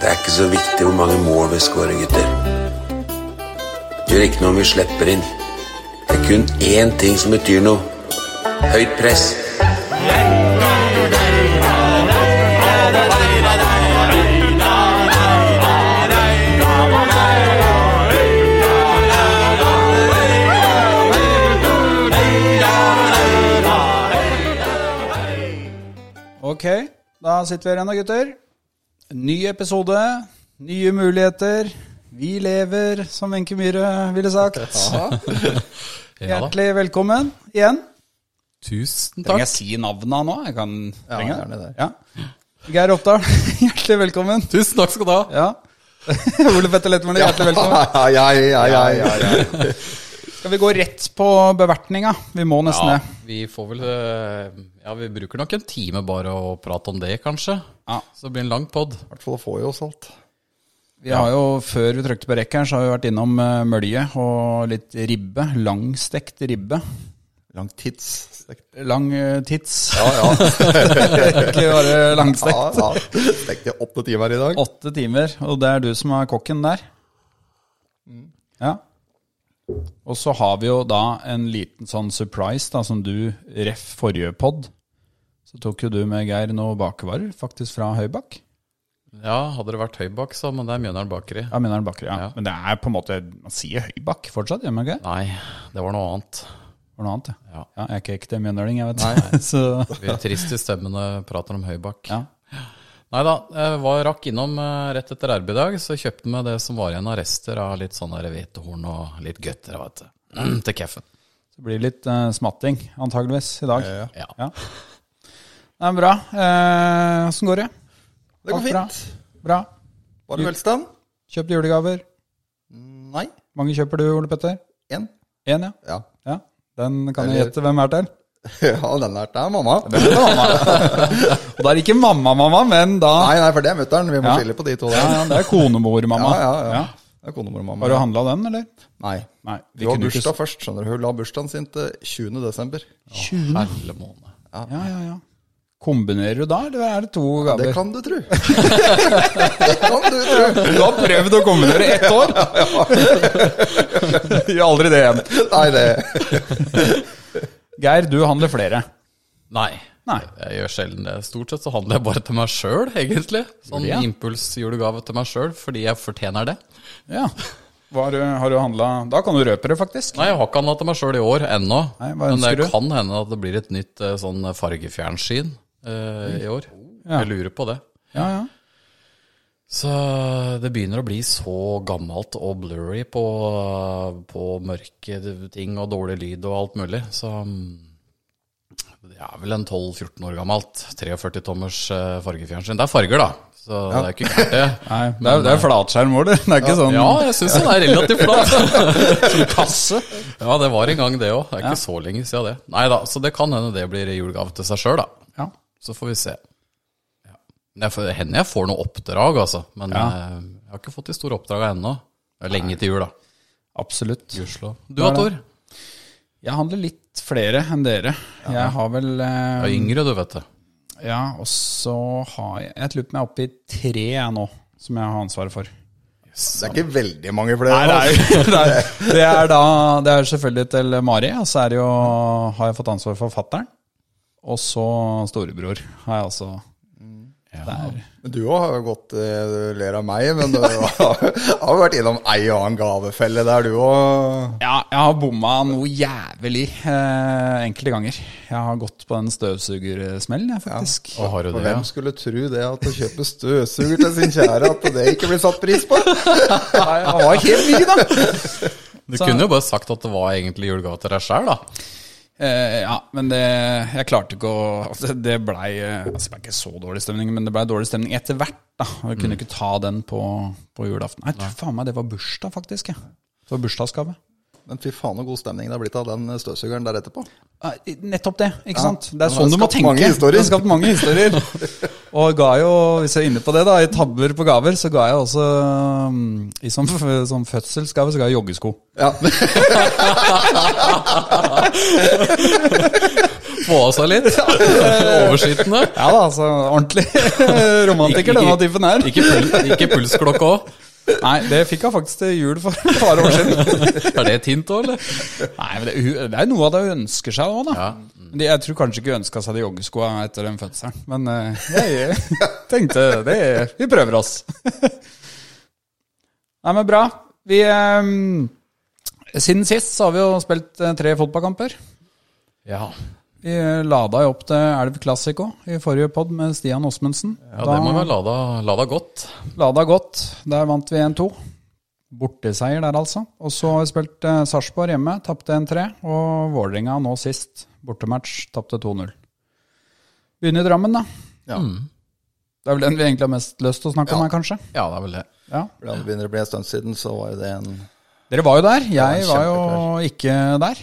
Det er ikke så viktig hvor mange mål vi scorer, gutter. Det gjør ikke noe om vi slipper inn. Det er kun én ting som betyr noe. Høyt press. Ok, da sitter vi her igjen da, gutter. Ny episode, nye muligheter. Vi lever, som Wenche Myhre ville sagt. Ja da. Hjertelig velkommen igjen. Tusen Trenger takk. jeg si navnet nå? Jeg kan trenger jeg? gjerne det. Ja. Geir Oppdal, hjertelig velkommen. Tusen takk skal du ha. Ja. Ole Petter Lettermann, hjertelig velkommen. Ja, ja, ja, ja, ja, ja. Skal vi gå rett på bevertninga? Vi må nesten Ja, det. vi får vel eh, Ja, vi bruker nok en time bare å prate om det, kanskje. Ja. Så det blir en lang pod. I hvert fall får jo oss alt. Vi har jo, Før vi trykte på rekk her, så har vi vært innom eh, mølje og litt ribbe. Langstekt ribbe. Langtids. Lang eh, tits. Ja, ja. Egentlig bare langstekt. ja, ja. Stekte i åtte timer i dag. Åtte timer, og det er du som er kokken der. Ja. Og så har vi jo da en liten sånn surprise, da, som du ref forrige pod. Så tok jo du med Geir noen bakevarer, faktisk fra Høybakk. Ja, hadde det vært Høybakk, så, men det er Mjøndalen Bakeri. Ja, Mjøndalen Bakkeri, ja. Ja. Men det er på en måte Man sier Høybakk fortsatt, gjør man ikke? det? Nei, det var noe annet. Var noe annet, ja. Ja. ja. Jeg er ikke ekte mjøndaling, jeg vet. så Vi er trist i stemmene, prater om Høybakk. ja. Nei da, jeg var rakk innom eh, rett etter RB i dag, så kjøpte vi det som var igjen av rester av litt sånne der hvetehorn og litt gutter, vet du. Mm, Til kaffen. Det blir litt eh, smatting, antageligvis, i dag. Ja, Ja. Ja. Nei, men bra. Eh, Åssen går det? Det går Alt bra. fint. Bra. Var det velstand? Kjøpt julegaver. Nei. mange kjøper du, Ole Petter? Én. Én, ja. Ja. ja. Den kan jeg Eller- gjette hvem er til. ja, den der er mamma. Det er mamma. Og da er det ikke mamma-mamma, men da Nei, nei, for det er mutter'n. Vi må Ja. skille på de to. ja, Der. ja, Det er konemor-mamma. Ja, ja, ja. Ja. Det er konemor og Har mamma. du handla den, eller? Nei. Nei. Vi har kunne ikke- bursdag først, skjønner du. Hun la bursdagen sin til 20. desember. Hele måned. Ja, ja, ja. Kombinerer du da, eller er det to gaver? Det kan du tru. det kan du tru. Du har prøvd å kombinere ett år! Gjør aldri det igjen. Nei, det Geir, du handler flere. Nei. Nei. Jeg gjør sjelden det. Stort sett så handler jeg bare til meg sjøl, egentlig. Gjør Sånn det, ja. impulsjulegave til meg sjøl, fordi jeg fortjener det. Ja. Var, du- har du handla Da kan du røpe det, faktisk. Nei, jeg har ikke handla til meg sjøl i år ennå. Nei, hva Men det ønsker du? kan hende at det blir et nytt eh, sånn fargefjernsyn eh, i år. Ja. Jeg lurer på det. Ja, ja. Så det begynner å bli så gammelt og blurry på, på mørke ting og dårlig lyd og alt mulig. Så mm, det er vel en 12-14 år gammelt. 43-tommers eh, fargefjernsyn. Det er farger, da. Så det er ikke gærent, det. Nei, det er, det er flatskjerm vår, det. Det er ikke sånn Ja, jeg syns den er relativt flat. Som kasse. Ja, det var en gang, det òg. Det er ikke så lenge siden det. Nei da, så det kan hende det blir julegave til seg sjøl, da. Ja. Så får vi se. Ja. Det får- hender jeg får noe oppdrag, altså. Men Ja. eh, jeg har ikke fått de store oppdraga ennå. Det er lenge til jul, da. Absolutt. Gudskjelov. Du da, Tor? Jeg handler litt flere enn dere. Jeg har vel Du eh, Um, er yngre, du, vet du. Ja, og så har jeg Jeg lurer på om jeg er oppe i tre jeg nå, som jeg har ansvaret for. Det er ikke veldig mange flere. det er, da Det er selvfølgelig til Mari, og så er det jo har jeg fått ansvar for fattern. Og så storebror har jeg også. Mm. Der. Men Du òg har jo gått eh, Du ler av meg, men du har har jo vært innom ei og annen gavefelle der, du òg. Ja, jeg har bomma noe jævlig eh, enkelte ganger. Jeg har gått på en støvsugersmell, jeg, faktisk. Og har du Og det, ja? hvem skulle tro det at å kjøpe støvsuger til sin kjære, at det ikke blir satt pris på? Nei, jeg var helt ny, da! Du Så- kunne jo bare sagt at det var egentlig julegave til deg sjøl, da. Eh, ja, men det, jeg klarte ikke å altså, Det blei eh, altså, det ble ikke så dårlig stemning, men det blei dårlig stemning etter hvert. da Og Jeg Mm. kunne ikke ta den på, på julaften. Nei, jeg tror faen meg det var bursdag, faktisk. Jeg. Det var bursdagsgave. Men fy faen, så god stemning det har blitt av den eh, støvsugeren der etterpå. Eh, Nettopp det, ikke sant? Det Ja, er sånn du det må har skapt tenke. mange historier. Det har skapt mange historier. Og ga jo, hvis jeg er inne på det, da, i tabber på gaver, så ga jeg også mm, I sånn, f- sånn fødselsgave så ga jeg joggesko. Ja. Få av seg litt. Overskytende. Ja da, altså ordentlig romantiker denne typen her. Ikke, pul ikke pulsklokke òg. Nei, det fikk jeg faktisk til jul for et par år siden. Er det et hint òg, eller? Nei, men det, hun- det er noe av det hun ønsker seg òg, da. Men de- Jeg tror kanskje ikke hun ønska seg de joggeskoa etter den fødselen, men eh, jeg tenkte det Vi prøver oss. Nei, men bra. Vi ehm, Siden sist så har vi jo spilt eh, tre fotballkamper. Ja. Vi eh, lada jo opp til Elv Classico i forrige pod med Stian Osmundsen. ja, det må være lada, lada godt. Lada godt. Der vant vi 1-2. Borteseier der, altså. Og så har vi spilt eh, Sarpsborg hjemme, tapte 1-3. Og Vålerenga nå sist, bortematch, tapte 2-0. Begynner i Drammen, da. Ja. Det er vel den vi egentlig har mest lyst til å snakke om her, kanskje. Ja, det er vel det. Ja. For Det begynner å bli en stund siden, så var jo det en Dere var jo der. Jeg Ja, var jo ikke der.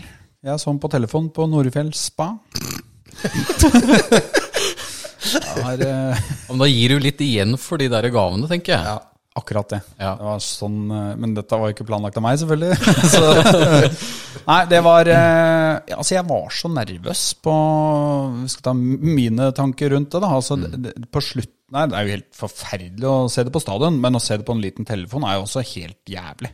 Jeg så den på telefon på Norefjell spa. Det var eh, Men da gir du litt igjen for de der gavene, tenker jeg. Akkurat det. Ja. det var sånn, eh, men dette var jo ikke planlagt av meg, selvfølgelig. Så, nei, det var eh, ja, Altså, jeg var så nervøs på Vi skal ta mine tanker rundt det, da. Altså, Mm. det- det- På slutt Nei, det er jo helt forferdelig å se det på stadion, men å se det på en liten telefon er jo også helt jævlig.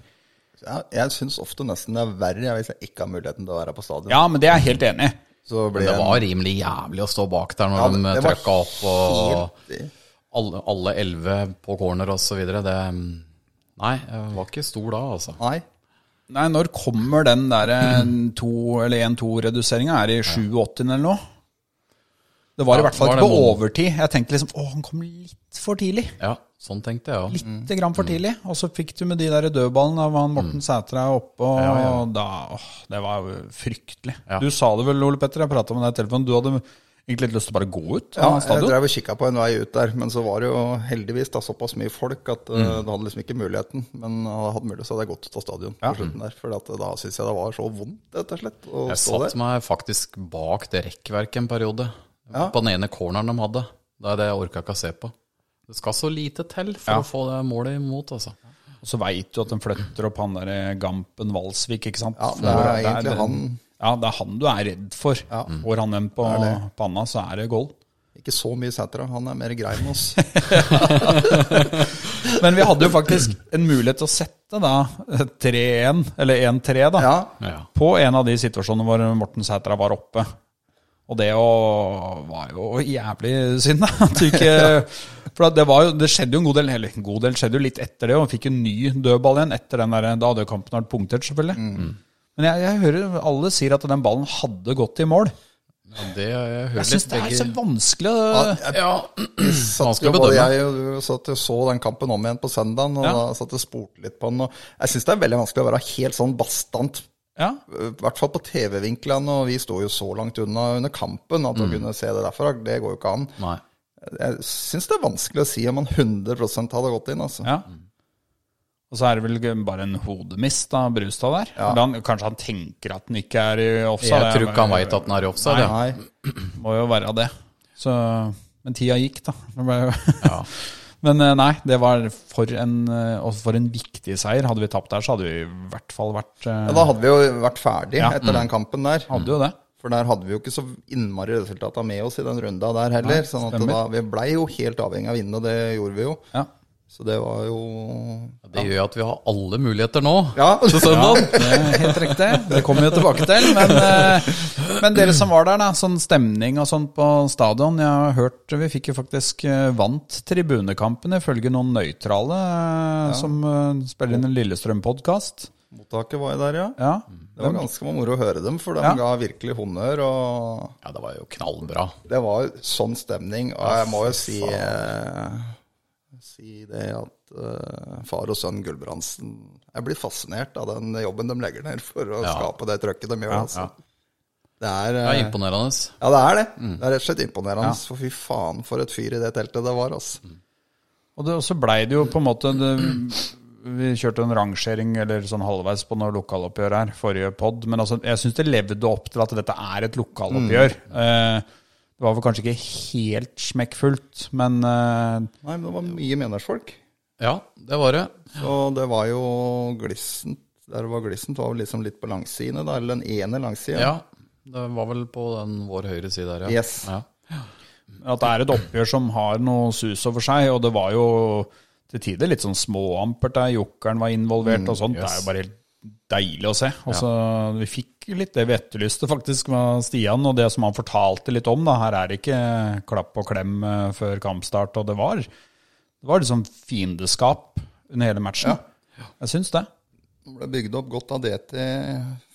ja, Jeg syns ofte nesten det er verre jeg, hvis jeg ikke har muligheten til å være på stadion. Ja, men det er jeg Mm. helt enig i. Så Men blir det en- var rimelig jævlig å stå bak der når Ja, det- de det var trøkka opp og helt- alle, alle elleve på corner og så videre. Det Nei, jeg var ikke stor da, altså. Nei. Nei, når kommer den eh, derre 1-2-reduseringa? Er det i 87 eller noe? Det var Ja, i hvert fall var ikke det på noen- overtid. Jeg tenkte liksom å, han kom litt for tidlig. Ja, sånn tenkte jeg òg. Mm. lite grann for tidlig. Og så fikk du med de der dødballene av han Morten Sætra oppe, og da åh, Det var jo fryktelig. Ja. Du sa det vel, Ole Petter, jeg prata med deg i telefonen. Du hadde egentlig litt lyst til å bare gå ut Ja, av jeg stadion? drev og kikka på en vei ut der, men så var det jo heldigvis da såpass mye folk at Mm. eh, du hadde liksom ikke muligheten. Men eh, hadde jeg hatt mulighet, så hadde jeg gått ut av stadion på slutten der. For at, eh, da syns jeg det var så vondt, rett og slett, å Jeg stå satt der. meg faktisk bak det rekkverket en periode. Ja. På den ene corneren de hadde. Det er det jeg orka ikke å se på. Det skal så lite til for å få det målet imot, altså. Og så veit du at den flytter opp han der eh, Gampen Valsvik, ikke sant? Ja, det er For egentlig han. Ja, det er han du er redd for. Får han den på panna, så er det gold. Ikke så mye Sætra, han er mer grei med oss. Men vi hadde jo faktisk en mulighet til å sette da 3-1, eller 1-3, da. Ja, Ja. på en av de situasjonene hvor Morten Sætra var oppe. Og det jo var jo jævlig synd, da. At du ikke, for at det, var jo, det skjedde jo en god del, eller en god del skjedde jo litt etter det, og han fikk en ny dødball igjen etter den der, da hadde jo kampen vært punktert, selvfølgelig. Mm. Men jeg, jeg hører alle sier at den ballen hadde gått i mål. Men det jeg hører Jeg syns litt det er begge så vanskelig å Ja, satt vanskelig jo å både bedømme. jeg og du satt jo så den kampen om igjen på søndagen, og Ja. da satt og spurte litt på den. Og jeg syns det er veldig vanskelig å være helt sånn bastant, eh, ja. i hvert fall på TV-vinklene, og vi sto jo så langt unna under kampen at å Mm. kunne se det derfra, det går jo ikke an. Nei. Jeg syns det er vanskelig å si om han 100 hadde gått inn, altså. ja. Og så er det vel bare en hodemist av Brustad der. Eller Han, kanskje han tenker at den ikke er i offside. Jeg Det er tror ikke han bare- veit at den er i offside. ja. Nei. Må jo være det. Så, men tida gikk, da. Det ble jo- Men eh, nei, det var for en, eh, og for en viktig seier. Hadde vi tapt der, så hadde vi i hvert fall vært Ja, eh, da hadde vi jo vært ferdig Ja. Mm. etter den kampen der. Hadde jo det. For der hadde vi jo ikke så innmari resultater med oss i den runda der heller. sånn at stemmer. da, vi blei jo helt avhengig av å vinne, og det gjorde vi jo. Ja. Så det var jo Det gjør jo at vi har alle muligheter nå. Ja, Til søndag. Det er helt riktig. Det kommer vi jo tilbake til. Men, eh, men dere som var der, da. Sånn stemning og sånn på stadion. Jeg har hørt Vi fikk jo faktisk eh, vant tribunekampen, ifølge noen nøytrale eh, som eh, spiller inn en Lillestrøm-podkast. mottaket var jo der, ja. Ja. Det var ganske moro å høre dem, for de Ja. ga virkelig honnør. Og Ja, det var jo knallbra. det var sånn stemning. Og Ah, jeg må jo si, eh, si det at eh, far og sønn Gulbrandsen Jeg blir fascinert av den jobben de legger ned for å Ja. skape det trøkket de gjør. altså. Det er, Det eh, er imponerende. Ja, det er det. Mm. Det er rett og slett imponerende. For fy faen, for et fyr i det teltet det var, altså. Mm. Og det, og så blei det jo på en måte det, Vi kjørte en rangering eller sånn halvveis på noe lokaloppgjør her, forrige pod. Men altså, jeg syns det levde opp til at dette er et lokaloppgjør. Eh, Det var vel kanskje ikke helt smekkfullt, men eh, Nei, men det var mye menersfolk. Ja, det var det. Og det var jo glissent. Der det var glissent, var vel liksom litt på langsiden, da, eller den ene langsiden. Ja, det var vel på den vår høyre side der, ja. Yes. ja. at det er et oppgjør som har noe sus over seg, og det var jo til tider litt sånn småampert der jokkeren var involvert Mm, og sånt. Det er jo bare helt deilig å se. Og så Vi fikk litt det vi etterlyste faktisk med Stian, og det som han fortalte litt om. da, Her er det ikke klapp og klem eh, før kampstart, og det var, det var liksom fiendeskap under hele matchen. Jeg syns det. De ble bygd opp godt av DT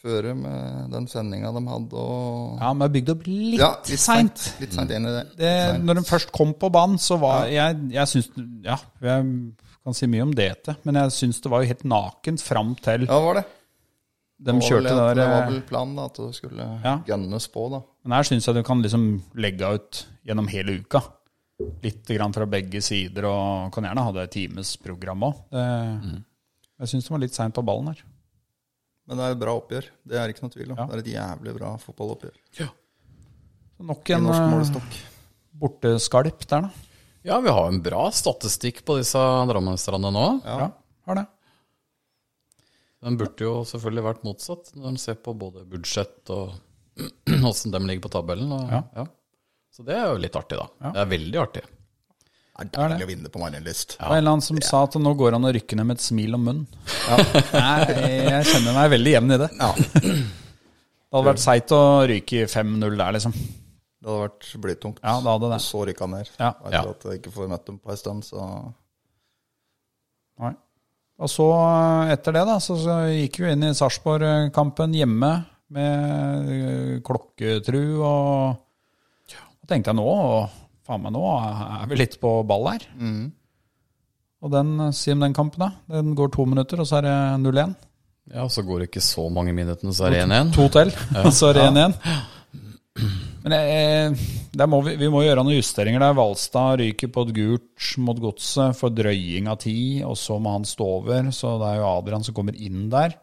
før med eh, den sendinga de hadde, og Ja, men jeg bygde opp litt, Ja, litt seint. sent. Litt seint inn i det. det, når de først kom på banen, så var jeg, jeg syns, Ja, jeg kan si mye om DT, men jeg syns det var jo helt nakent fram til Ja, var det. de kjørte det, det var vel- det var der. eh, vel planen da, at det skulle Ja. gønnes på, da. Men her syns jeg du kan liksom legge ut gjennom hele uka. Litt grann fra begge sider, og kan gjerne ha det times program òg. Mm. Jeg syns det var litt seint på ballen her. Men det er et bra oppgjør. Det er ikke noe tvil om. Ja. Det er et jævlig bra fotballoppgjør. Så nok I en norsk eh, målestokk. borteskalp der, da. Ja, vi har en bra statistikk på disse Drammensstrandene nå. Ja, har det. Den burde jo selvfølgelig vært motsatt, når en ser på både budsjett og åssen de ligger på tabellen. Og, ja. Så det er jo litt artig, da. Det er veldig artig. Det er deilig å vinne på Marienlyst. Det var en eller annen som sa at nå går det an å rykke ned med et smil om munnen. Nei, jeg kjenner meg veldig jevn i det. Det hadde vært seigt å ryke i 5-0 der, liksom. Det hadde vært blytungt. Ja, det hadde det. Og så rykka han ned. Ja. Og Ja. Etter at jeg ikke får møtt dem på en stund, så Nei. Og så eh, etter det, da, så så gikk vi inn i Sarpsborg-kampen hjemme med eh, klokketru og Da tenkte jeg nå Faen meg, nå er vi litt på ball her. Og den, eh, si om den kampen, da. Den går to minutter, og så er det 0-1. Ja, så går det ikke så mange minuttene, så er det 1-1. To til, og så er det 1-1. Men eh, der må vi, vi må gjøre noen justeringer der. Valstad ryker på et gult mot godset for drøying av tid, og så må han stå over, så det er jo Adrian som kommer inn der.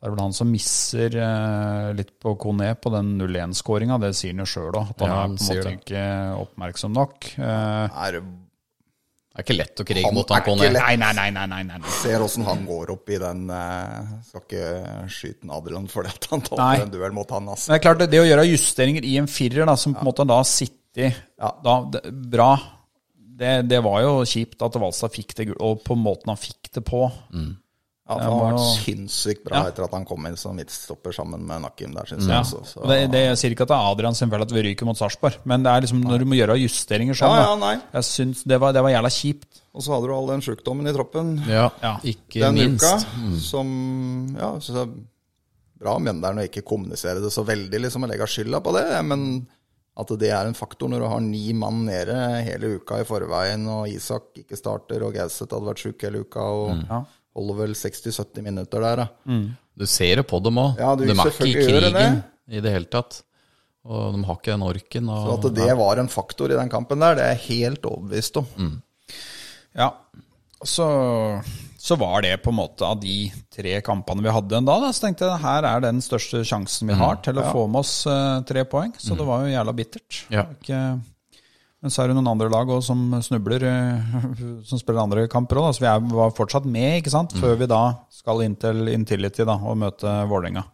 Så er det vel han som misser eh, litt på Kone på den 0-1-skåringa, det sier han jo sjøl òg, at han Ja, han er på en sier måte det. ikke oppmerksom nok. Eh, er, Det er ikke lett å krige Han mot han er Conné. ikke lett. nei, nei, nei, nei, nei, nei. ser åssen han går opp i den eh, Skal ikke skyte en Adrian fordi at han Nei. taper en duell mot han, altså. Men det er klart, det, det å gjøre justeringer i en firer, da, som på en måte da sitter da, det, bra det, det var jo kjipt at Valstad fikk det, gul- og på måten han fikk det på. Mm. Ja, for han må har vært jo- sinnssykt bra etter at han kom inn som midtstopper sammen med Nakim der, syns jeg. Ja. Også, så. Og det, det, jeg sier ikke at det er Adrian sin feil at vi ryker mot Sarpsborg, men det er liksom når du må gjøre justeringer sånn. Ja, ja, da. nei. Jeg syns det var, det var jævla kjipt. Og så hadde du all den sjukdommen i troppen Ja, Ja. ikke den minst. Mm. uka, som Ja, så det er bra om Mjøndalen å ikke kommunisere det så veldig, liksom, og legge skylda på det, men at det er en faktor når du har ni mann nede hele uka i forveien, og Isak ikke starter, og Gauseth hadde vært sjuk hele uka, og Mm. holder vel 60-70 minutter der, da. Du ser det på dem òg. Ja, du de er ikke i selvfølgelig gjør det. krigen i det hele tatt. Og de har ikke den orken. Og, Så at det var en faktor i den kampen der, det er jeg helt overbevist om. Mm. Ja. Så, så var det på en måte av de tre kampene vi hadde en dag, da, så tenkte jeg her er den største sjansen vi har til å få med oss eh, tre poeng. Så det var jo jævla bittert. Ja. Ikke, men så er det noen andre lag også som snubler, eh, som spiller andre kamper òg. Så vi er, var fortsatt med, ikke sant, før vi da skal inn til Intility da, og møte Vålerenga.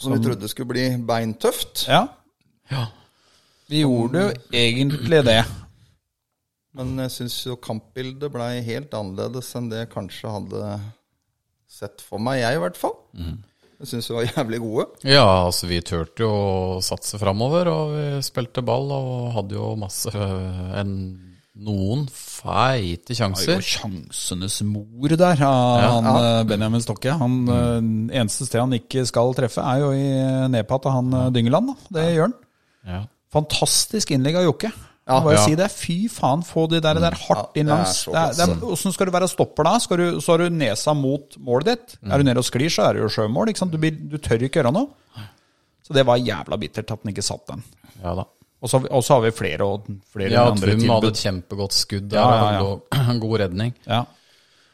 Som vi trodde skulle bli beintøft. Ja. Vi gjorde jo egentlig det. Men jeg syns jo kampbildet blei helt annerledes enn det jeg kanskje hadde sett for meg, jeg i hvert fall. Jeg syns vi var jævlig gode. Ja, altså vi turte jo å satse framover, og vi spilte ball og hadde jo masse øh, en, noen feite Det var sjanser. jo sjansenes mor der, av han eh, Benjamin Stokke. Han, eh, Eneste sted han ikke skal treffe, er jo i nedpå til han eh, Dyngeland. Da. Det gjør han. Ja. Fantastisk innlegg av Jokke. Ja, bare Ja. si det. Fy faen, få de der, der hardt Ja, inn det er langs. så Det er- godt. det er- Åssen skal du være stopper da? Skal du, så har du nesa mot målet ditt. Er du nede og sklir, så er det jo sjømål. Ikke sant? Du, blir, du tør ikke gjøre noe. Så det var jævla bittert at den ikke satt den. ja da. Og så og så har vi flere, og- flere Ja, andre Trum hadde tilbud. et kjempegodt skudd der, Ja, ja, ja. og god- god redning. Ja.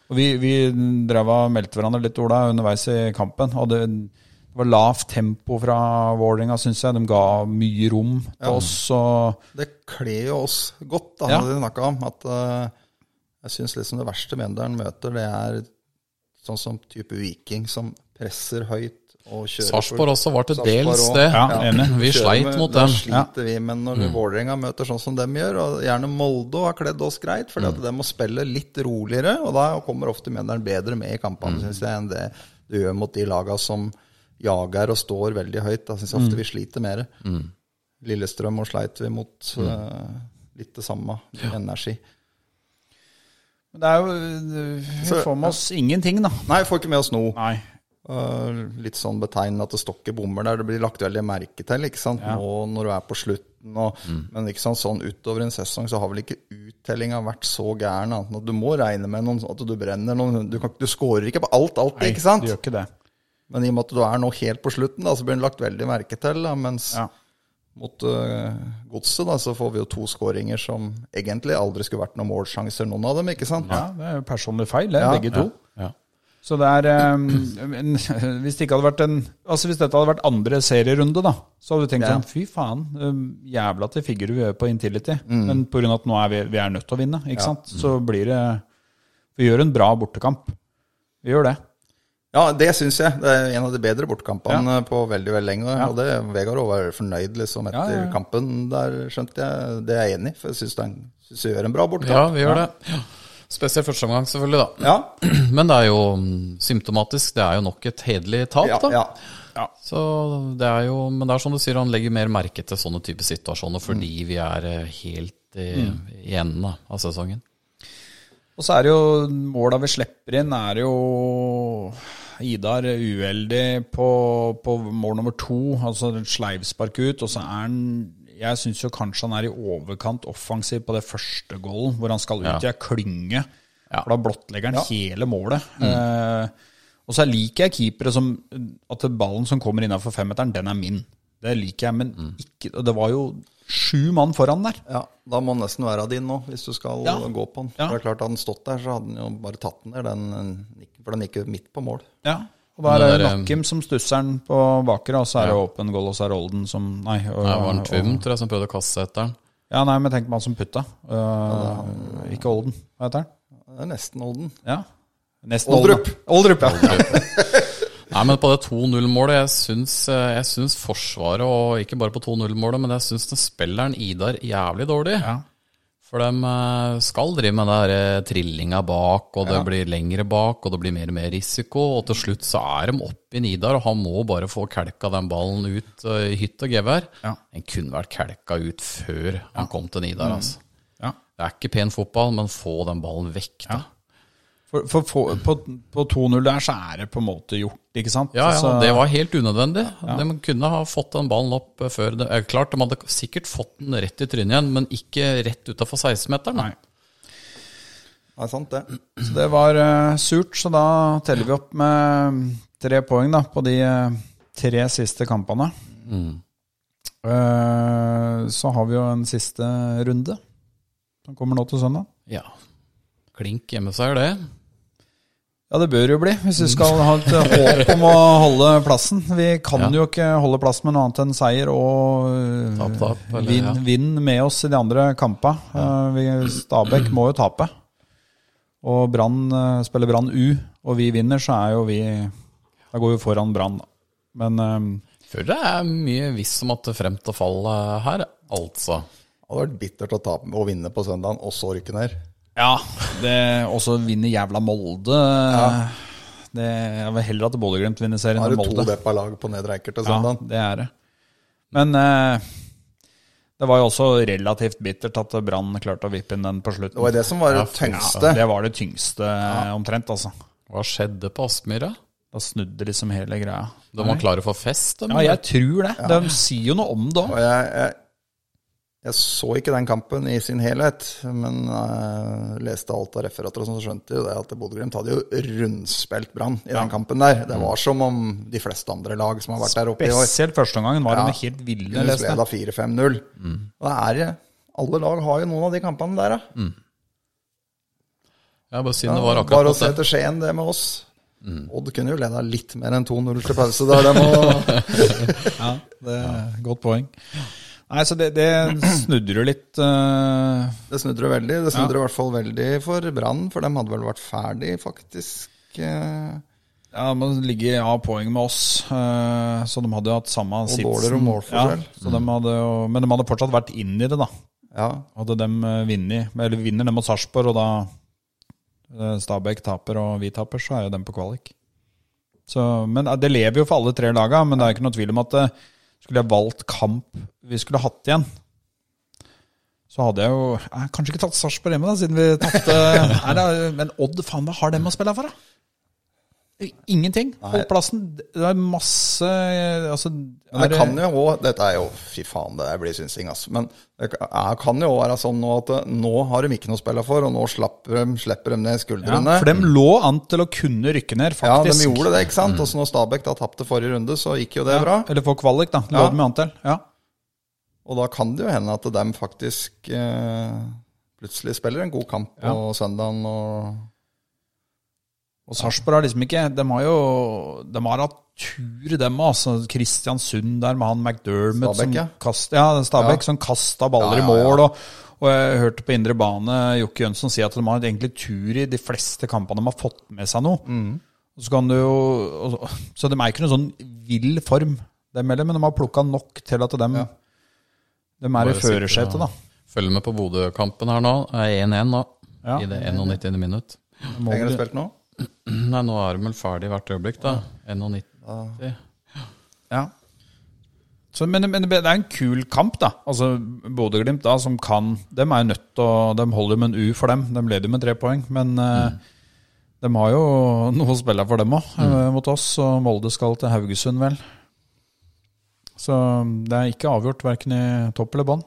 Og vi, vi drev og meldte hverandre litt, Ola, underveis i kampen. Og det, det Det var lavt tempo fra Vålerenga, syns jeg. De ga mye rom til oss. Og Det kler jo oss godt, da, Ja. det vi snakka om. At eh, jeg syns liksom det verste Mjøndalen møter, det er sånn som type Viking som presser høyt og kjører Sarpsborg også var til Sarpsborg dels også. det. Ja, enig. Vi Kjører sleit med- mot da dem. Mm. sliter vi, men når Vålerenga møter sånn som dem gjør, og gjerne Molde har kledd oss greit, fordi Mm. at de må spille litt roligere, og da kommer ofte Mjøndalen bedre med i Mm. kampene, synes jeg, enn det du gjør mot de laga som jager og står veldig høyt. Da syns jeg Mm. ofte vi sliter mer. Lillestrøm og sleit vi mot Mm. eh, litt det samme, energi. Men det er jo Vi Så- får med oss ingenting, da. Nei, får ikke med oss nå. Nei. Eh, litt sånn betegnende at det stokker bommer der. Det blir lagt veldig merke til ikke sant? Nå når du er på slutten. Og, Mm. Men ikke sant? sånn utover en sesong så har vel ikke uttellinga vært så gæren. annet enn at Du må regne med noen, at du brenner noen Du, kan, du scorer ikke på alt, alltid, ikke sant? Du gjør ikke det. Men i og med at du er nå helt på slutten, da, så blir den lagt veldig merke til. Da, mens Ja. mot eh, Godset da, så får vi jo to skåringer som egentlig aldri skulle vært noen målsjanser, noen av dem, ikke sant? ja, det er jo personlig feil, det, Ja. begge to. Ja. Så det er eh, en, Hvis det ikke hadde vært en Altså hvis dette hadde vært andre serierunde, da, så hadde du tenkt Ja. sånn Fy faen, eh, jævla til figurer vi gjør på Intility. Men pga. at nå er vi, vi er nødt til å vinne, ikke sant, så blir det Vi gjør en bra bortekamp. Vi gjør det. Ja, det syns jeg. Det er en av de bedre bortkampene på veldig veldig lenge. Og det, Vegard også var fornøyd liksom, etter Ja, ja, ja. kampen der, skjønte jeg. Det er jeg enig i, for jeg syns han synes vi gjør en bra ja, bortkamp. vi gjør det. Ja. Spesielt første omgang, selvfølgelig, da. Ja. Men det er jo mm, symptomatisk. Det er jo nok et hederlig tap, Ja, da. ja. Så det er jo, men det er som du sier, han legger mer merke til sånne type situasjoner fordi vi er eh, helt i, i enden da, av sesongen. Og så er det jo måla vi slipper inn, er jo Idar er uheldig på, på mål nummer to, altså et sleivspark ut. Og så er han Jeg syns jo kanskje han er i overkant offensiv på det første goalen, hvor han skal ut Ja. i ei klynge. Ja. Mm. For da blottlegger han hele målet. Eh, og så liker jeg keepere som At ballen som kommer innafor femmeteren, den er min. Det liker jeg, men Mm. ikke Og det var jo sju mann foran der. ja. Da må den nesten være din nå, hvis du skal Ja. gå på den. Ja. For det er klart Hadde den stått der, så hadde den jo bare tatt den der, den, for den gikk jo midt på mål. Ja. Og da er Men det det er, eh, Nakkim som stusser den på bakre, og så er det åpen goal, og så er det Olden som Nei. Og, Det var en Tvum, og- tror jeg, som prøvde å kaste seg etter den. Ja, nei, men tenk på han som putta. Øh, ikke Olden, hva heter han? Det er nesten Olden. Ja. Nesten Oldrup. Olden, da. Oldrup, ja. Nei, men på det 2-0-målet Jeg syns, eh, jeg syns Forsvaret, og ikke bare på 2-0-målet, men jeg syns den spilleren Idar jævlig dårlig. Ja. For de eh, skal drive med den der eh, trillinga bak, og det blir lengre bak, og det blir mer og mer risiko. Og til slutt så er de oppe i Nidar, og han må bare få kelka den ballen ut eh, i hytt og gevær. Ja. Den kunne vært kelka ut før han kom til Mm. Nidar, altså. ja. Det er ikke pen fotball, men få den ballen vekk, da. For, for, for, på på 2-0 der så er det på en måte gjort, ikke sant? Ja, ja, Så- det var helt unødvendig. De kunne ha fått den ballen opp eh, før det er Klart, de hadde sikkert fått den rett i trynet igjen, men ikke rett utafor 16-meteren. da. Nei. Nei, sant det. Så det var eh, surt, så da teller vi opp med tre poeng da, på de eh, tre siste kampene. Mm. Eh, så har vi jo en siste runde, som kommer nå til søndag. Ja. Klink hjemmeseier, det. Ja, det bør jo bli, hvis vi skal ha et håp om å holde plassen. Vi kan Ja. jo ikke holde plass med noe annet enn seier og eh, Tap, tap, eller- vinn ja. vinn med oss i de andre kampene. Eh, vi- Stabæk må jo tape. Og Brann eh, spiller Brann U, og vi vinner, så er jo vi Da går vi foran Brann, da. Men eh, Føler det er mye visst om at det frem til fallet her, altså. Det hadde vært bittert å, tape, å vinne på søndagen, og så rykke ned. ja, eh, det også vinner jævla Molde. eh, Det, jeg vil heller at Bodø-Glimt vinner serien Da har enn du to Molde. deppa lag på nedre Eiker til søndagen. Ja, det er det. Men eh, det var jo også relativt bittert at Brann klarte å vippe inn den på slutten. Det var det som var det tyngste. det var det tyngste eh, omtrent, altså. Hva skjedde på Aspmyra? Da snudde liksom hele greia. De var klare for fest, de. Ja, jeg tror det. De sier jo noe om det òg. Og jeg, jeg, jeg så ikke den kampen i sin helhet, men eh, leste alt av referater og sånn, så skjønte jeg det at Bodø-Glimt hadde jo rundspilt Brann i den kampen Mm. der. Det var som om de fleste andre lag som har vært der oppe i år. Spesielt første omgangen var de Ja. helt ville. Kunne leste jeg. leda 4-5-0. Mm. Og det er Alle lag har jo noen av de kampene der, da. Ja, bare siden Ja, det var bare å akkurat se mot Mm, det. Mm. til Skien, det med oss. Odd kunne jo leda litt mer enn 2-0 til pause der. Det må, Ja, det er godt poeng. Nei, så det, det snudrer litt eh, det snudrer veldig. Det snudrer i hvert fall veldig for Brann, for de hadde vel vært ferdig, faktisk. eh, Ja, men ligger av poeng med oss, eh, så de hadde jo hatt samme Og dårligere målforskjell. Ja, så de hadde jo, men de hadde fortsatt vært inn i det, da. Ja, Hadde de eh, vunnet, eller vinner de mot Sarpsborg, og da eh, Stabæk taper og vi taper, så er jo de på kvalik. Så, men eh, det lever jo for alle tre laga, men det er ikke noe tvil om at eh, skulle jeg valgt kamp vi skulle hatt igjen, så hadde jeg jo eh, kanskje ikke tatt Sarpsborg hjemme, da, siden vi tapte Nei, da, Men Odd, faen, hva har dem å spille for, da? Ingenting. Hold plassen. Det er masse eh, Altså Men det er- kan jo også, Dette er jo Fy faen, det der blir synsing, altså. Men det ka- er- kan jo være sånn nå at eh, nå har de ikke noe å spille for, og nå slapper de, slipper de ned ja, skuldrene. For dem lå an til å kunne rykke ned, Ja, faktisk. Mm. de gjorde det, ikke sant? Og så når Stabæk da tapte forrige runde, så gikk jo det bra. Eller for kvalik, da. Lå Ja. de jo an til. Ja. Og da kan det jo hende at de faktisk eh, plutselig spiller en god kamp på søndagen. Og, Og Sarpsborg har liksom ikke De har jo De har hatt tur, dem. Altså Kristiansund der med han McDermott Stabæk, ja. som kast, ja, Stabæk Ja. som kasta baller Ja, ja, i mål. ja. Og, og jeg hørte på indre bane Jokke Jønsson si at de har egentlig tur i de fleste kampene de har fått med seg noe. Mm. Og Så, kan du jo, og- så de er ikke noen sånn vill form, dem heller, men de har plukka nok til at de, de er i Bare sitter førersetet, da. og- Følg med på Bodø-kampen her nå. Det er 1-1 nå, Ja. i det 91. minutt. Må Lenge har de du- spilt nå? Nei, nå er de vel ferdig hvert øyeblikk, da. 91. Ja. Så, men, men det er en kul kamp, da. Altså Bodø-Glimt, da, som kan Dem er jo nødt til å De holder med en U for dem. De leder med tre poeng. Men eh, de har jo noe å spille for, dem òg, Mm. mot oss. Og Molde skal til Haugesund, vel. Så det er ikke avgjort verken i topp eller bånn.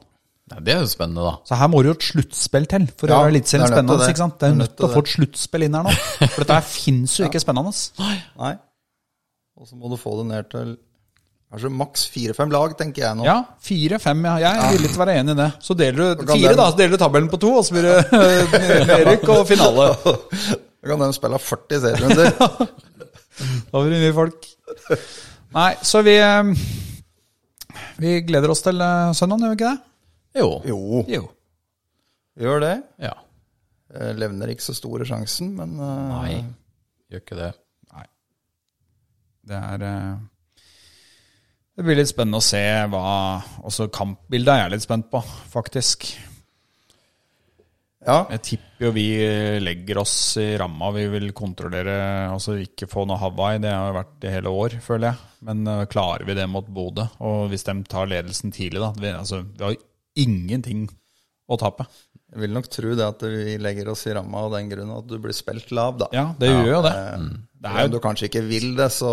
Nei, det er jo spennende, da. Så her må det jo et sluttspill til for å Ja, gjøre Eliteserien det er nødt til spennende. det. ikke sant? Det er jo nødt til å det. få et sluttspill inn her nå. For dette her fins jo ikke spennende. Nei. Og så må du få det ned til kanskje maks fire-fem lag, tenker jeg nå. Ja, fire-fem. Ja. Jeg er villig til å være enig i det. Så deler du kan fire, den- da. Så deler du tabellen på to, og så blir det nedrykk og finale. Da kan de spille 40 serierunder. Da blir det mye folk. Nei, så vi eh, Vi gleder oss til eh, søndagen, gjør vi ikke det? Jo. jo, Jo. gjør det. Ja. Eh, Levner ikke så store sjansen, men eh, Nei, gjør ikke det. Det er eh, Det blir litt spennende å se hva Også kampbildet er jeg litt spent på, faktisk. ja. Jeg tipper jo vi eh, legger oss i ramma. Vi vil kontrollere, altså ikke få noe Hawaii. Det har jo vært i hele år, føler jeg. Men øh, klarer vi det mot Bodø? Og hvis de tar ledelsen tidlig, da vi, altså, vi har jo ingenting å tape. Jeg vil nok tro det at vi legger oss i ramma av den grunn at du blir spilt lav, da. Ja, Mm. det gjør jo det. Det er Om jo du kanskje ikke vil det, så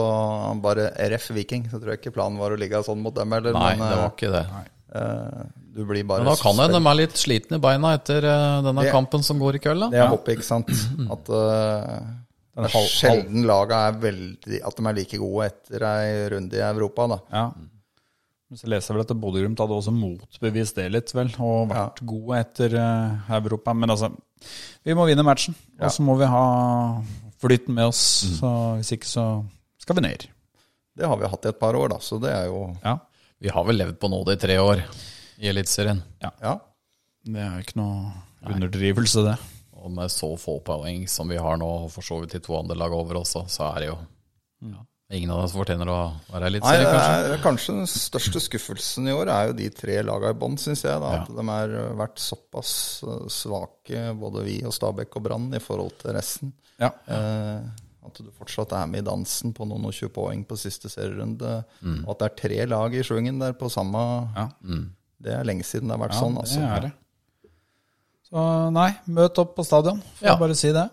bare RF Viking. Så tror jeg ikke planen var å ligge sånn mot dem heller. Nei, men det var ikke det. eh, du blir bare Men da kan det spilt- de er litt slitne i beina etter eh, denne Det- kampen som går i kveld, da. Det er håpet, ikke sant? At eh, det er halv- sjelden laga er veldig At de er like gode etter ei runde i Europa, da. ja. Men så leser jeg vel at Bodø-Glimt hadde også motbevist det litt, vel. Og vært gode etter øh, Europa. Men altså, vi må vinne matchen. Og så må vi ha flyten med oss. Så hvis ikke, så skal vi ned. Det har vi hatt i et par år, da, så det er jo Ja. Vi har vel levd på nåde i tre år i Eliteserien. Ja. Det er ikke noe underdrivelse, det. Og med så få poeng som vi har nå, og for så vidt de to andre lag over også, så er det jo ja. Ingen av oss fortjener å være Mm. Nei, eliteserie, det kanskje. er, kanskje den største skuffelsen i år er jo de tre laga i bånn, syns jeg. da, At de har vært såpass eh, svake, både vi og Stabæk og Brann, i forhold til resten. Ja. Eh, at du fortsatt er med i dansen på noen og 20 poeng på siste serierunde. Og at det er tre lag i svingen der på samme Mm. Ja. Det er lenge siden det har vært sånn. altså. Det er det. Så nei, møt opp på stadion. Får Ja. jeg bare si det.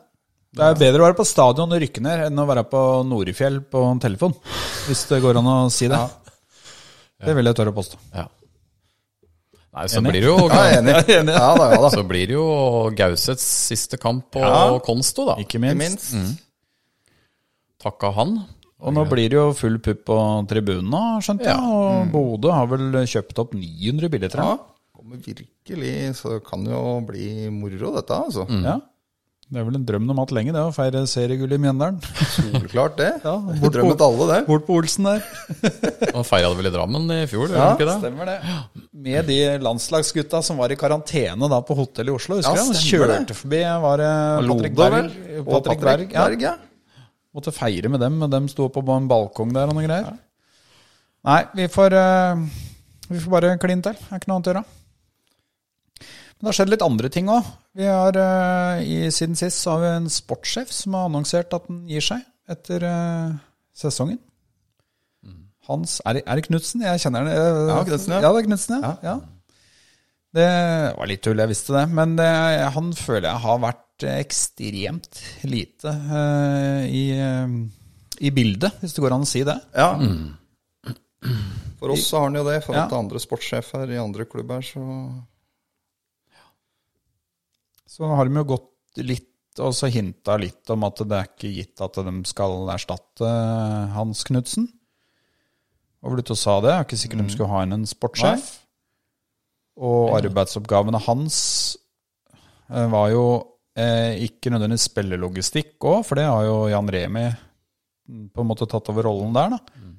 Det er bedre å være på stadion og rykke ned enn å være på Norefjell på en telefon. Hvis det går an å si det. Det vil jeg tørre å påstå. Ja. Nei, så Enig? blir det jo Ja, jeg er enig. Jeg er enig. Ja da, ja da. Så blir det jo Gausets siste kamp på Konsto, da. Ikke Ikke minst. Mm. minst. Takka han. Og nå blir det jo full pupp på tribunen nå, skjønte jeg. Ja. Og Bodø har vel kjøpt opp 900 billetter. Ja, her. Mm. kommer virkelig, så det kan jo bli moro, dette, altså. Ja. Det er vel en drøm de har hatt lenge, det å feire seriegull i Mjøndalen. Soleklart det. Ja, Vi bort- drømmet alle det. Bort på Olsen der. Man feira det vel i Drammen i fjor? gjorde Ja, man ikke det? stemmer det. Med de landslagsgutta som var i karantene da på hotell i Oslo. Husker Ja, du? De stemmer det. kjørte forbi var det Patrick Lode, Berg. vel? Patrick, Og Patrick Berg, ja. Berg, ja. Måtte feire med dem, men dem sto på en balkong der og noen greier. Nei, vi får, eh, vi får bare kline til. Det er ikke noe annet å gjøre. Men det har skjedd litt andre ting òg. Vi har, eh, i- Siden sist så har vi en sportssjef som har annonsert at han gir seg etter eh, sesongen. Hans Er det, er det Knutsen? Jeg kjenner han. eh, Mm. Ja, Knudsen, ja. ja. det er Knutsen, ja. ja. Det var litt tull, jeg visste det. Men det, han føler jeg har vært ekstremt lite eh, i, eh, i bildet, hvis det går an å si det. ja. For oss så har han jo det. I forhold Ja. til andre sportssjefer i andre klubber, så Så har de jo gått litt og så hinta litt om at det er ikke gitt at de skal erstatte Hans Knutsen. Og ble ute og sa det. Jeg er ikke sikker de skulle ha inn en sportssjef. Og arbeidsoppgavene hans eh, var jo eh, ikke nødvendigvis spillelogistikk òg, for det har jo Jan Remi mm, på en måte tatt over rollen der, da.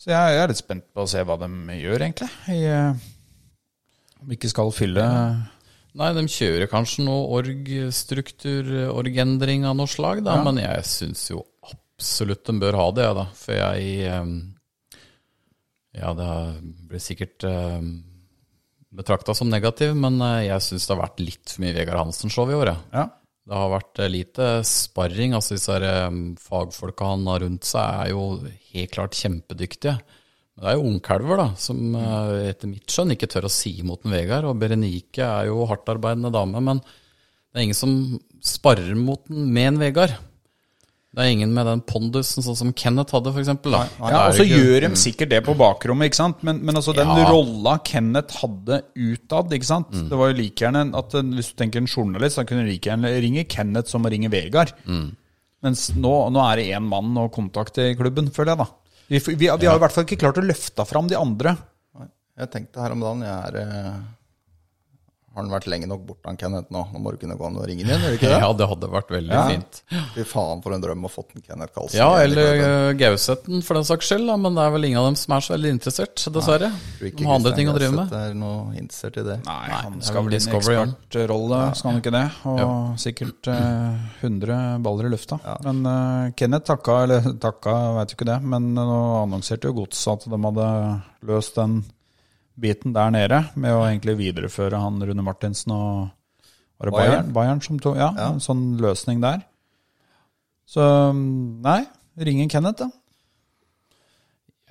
Så jeg, jeg er litt spent på å se hva de gjør, egentlig. I, eh, om ikke skal fylle Nei, de kjører kanskje noe org-struktur, orgendring av noe slag, da, men jeg syns jo absolutt de bør ha det, ja, da. For jeg ehm, Ja, det blir sikkert betrakta som negativ, men eh, jeg syns det har vært litt for mye Vegard Hansen-show i år, jeg. Ja. Det har vært eh, lite sparring. altså Disse her, eh, fagfolka han har rundt seg, er jo helt klart kjempedyktige. Men det er jo ungkalver da, som eh, etter mitt skjønn ikke tør å si imot en Vegard. Og Berenike er jo hardtarbeidende dame, men det er ingen som sparrer mot den med en Vegard. Det er ingen med den pondusen sånn som Kenneth hadde, f.eks. Ja, og så gjør de sikkert det på bakrommet, ikke sant? Men, men altså den Ja. rolla Kenneth hadde utad, ikke sant? Det var jo like gjerne at eh, hvis du tenker en journalist, da kunne du like gjerne ringe Kenneth som å ringe Vegard. Mens nå, nå er det én mann å kontakte i klubben, føler jeg, da. Vi, vi, vi har i hvert fall ikke klart å løfte fram de andre. Jeg tenkte her om dagen jeg er, eh, Har han vært lenge nok borte, han Kenneth, nå? Nå må du kunne gå an og ringe den igjen, gjør du ikke det? Ja, det hadde vært veldig fint. Fy faen, for en drøm å ha fått en Kenneth Karlsen. Ja, igjen i eller klubben. eh, Gauseten for den saks skyld, da, men det er vel ingen av dem som er så veldig interessert, dessverre. Tror ikke De har andre Christian ting å drive Gauseth med. er noe interessert i det. Nei, han det er skal vel vel inn i Discovery, han. ekspertrolle, skal han ikke det? Og sikkert eh, 100 baller i lufta. Men eh, Kenneth takka, eller takka, jeg vet jo ikke det, men nå annonserte jo Godset at de hadde løst den biten der nede med å egentlig videreføre han Rune Martinsen og var det Bayern, Bayern? Bayern som tok, ja, en sånn løsning der. Så mm, nei, ring en Kenneth, da.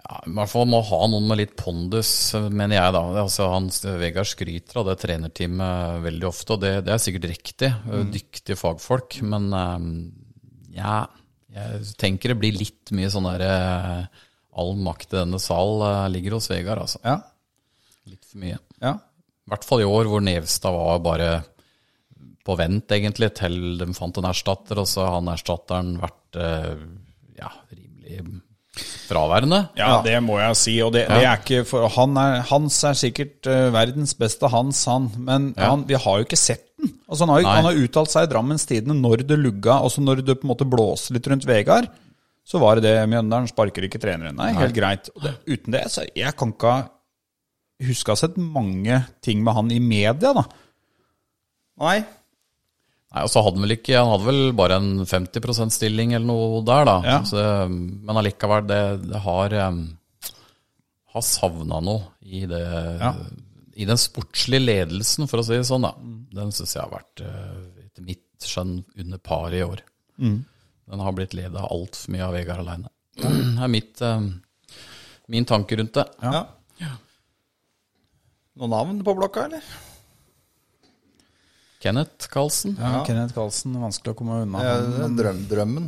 Ja, I hvert fall må ha noen med litt pondus, mener jeg da. Altså, han, Vegard skryter av det trenerteamet veldig ofte, og det, det er sikkert riktig. Dyktige fagfolk. Men eh, ja, jeg tenker det blir litt mye sånn derre All makt i denne sal eh, ligger hos Vegard, altså. Ja. Litt for mye. ja. I hvert fall i år, hvor Nevstad var bare på vent, egentlig, til de fant en erstatter, og så har han erstatteren vært eh, ja, rimelig fraværende. Ja, det må jeg si. Og det, det er ikke for han er, Hans er sikkert eh, verdens beste Hans, han. Men han, vi har jo ikke sett den. Altså, han har, jo- Nei. han har uttalt seg i Drammens Tidende når det lugga, altså når det på en måte blåser litt rundt Vegard. Så var det det. Mjøndalen sparker ikke treneren. Nei, helt greit. Og det, uten det, så jeg kan ikke huske å ha sett mange ting med han i media, da. Nei. Nei, og så hadde han vel ikke Han hadde vel bare en 50 stilling eller noe der, da. Ja. Så, men allikevel, det, det har um, Har savna noe i det I den sportslige ledelsen, for å si det sånn, da. Den syns jeg har vært, eh, etter mitt skjønn, under par i år. Mm. Den har blitt leda altfor mye av Vegard aleine. Det er mitt, um, min tanke rundt det. Ja. Noe navn på blokka, eller? Kenneth Karlsen. Ja, Kenneth Karlsen, vanskelig å komme unna. Ja, det er drøm, drømmen.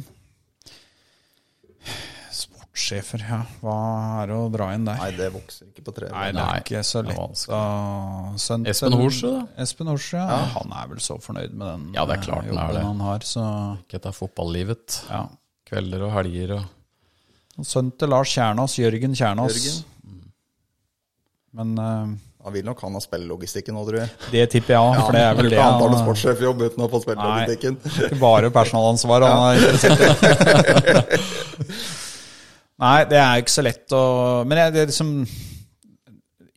Sportssjefer, ja. Hva er det å dra inn der? Nei, det vokser ikke på tre. Nei, det Nei, er ikke så det er lett. vanskelig. å- Sønt- Espen Horsrud, da? Espen Horsrud, ja. Han er vel så fornøyd med den Ja, det er klart eh, han er jobben det. han har. Så Ikke dette fotballivet. ja. Kvelder og helger og Og Sønnen til Lars Kjernås, Jørgen Kjernås. Jørgen. Mm. Men eh, Da vil nok han ha spillelogistikken nå, tror jeg. Det tipper jeg òg, for det er vel det Han har noen han sportssjefjobb uten å få Nei, spillelogistikken. ikke bare personalansvar han er interessert i. Nei, det er ikke så lett å Men jeg, det er liksom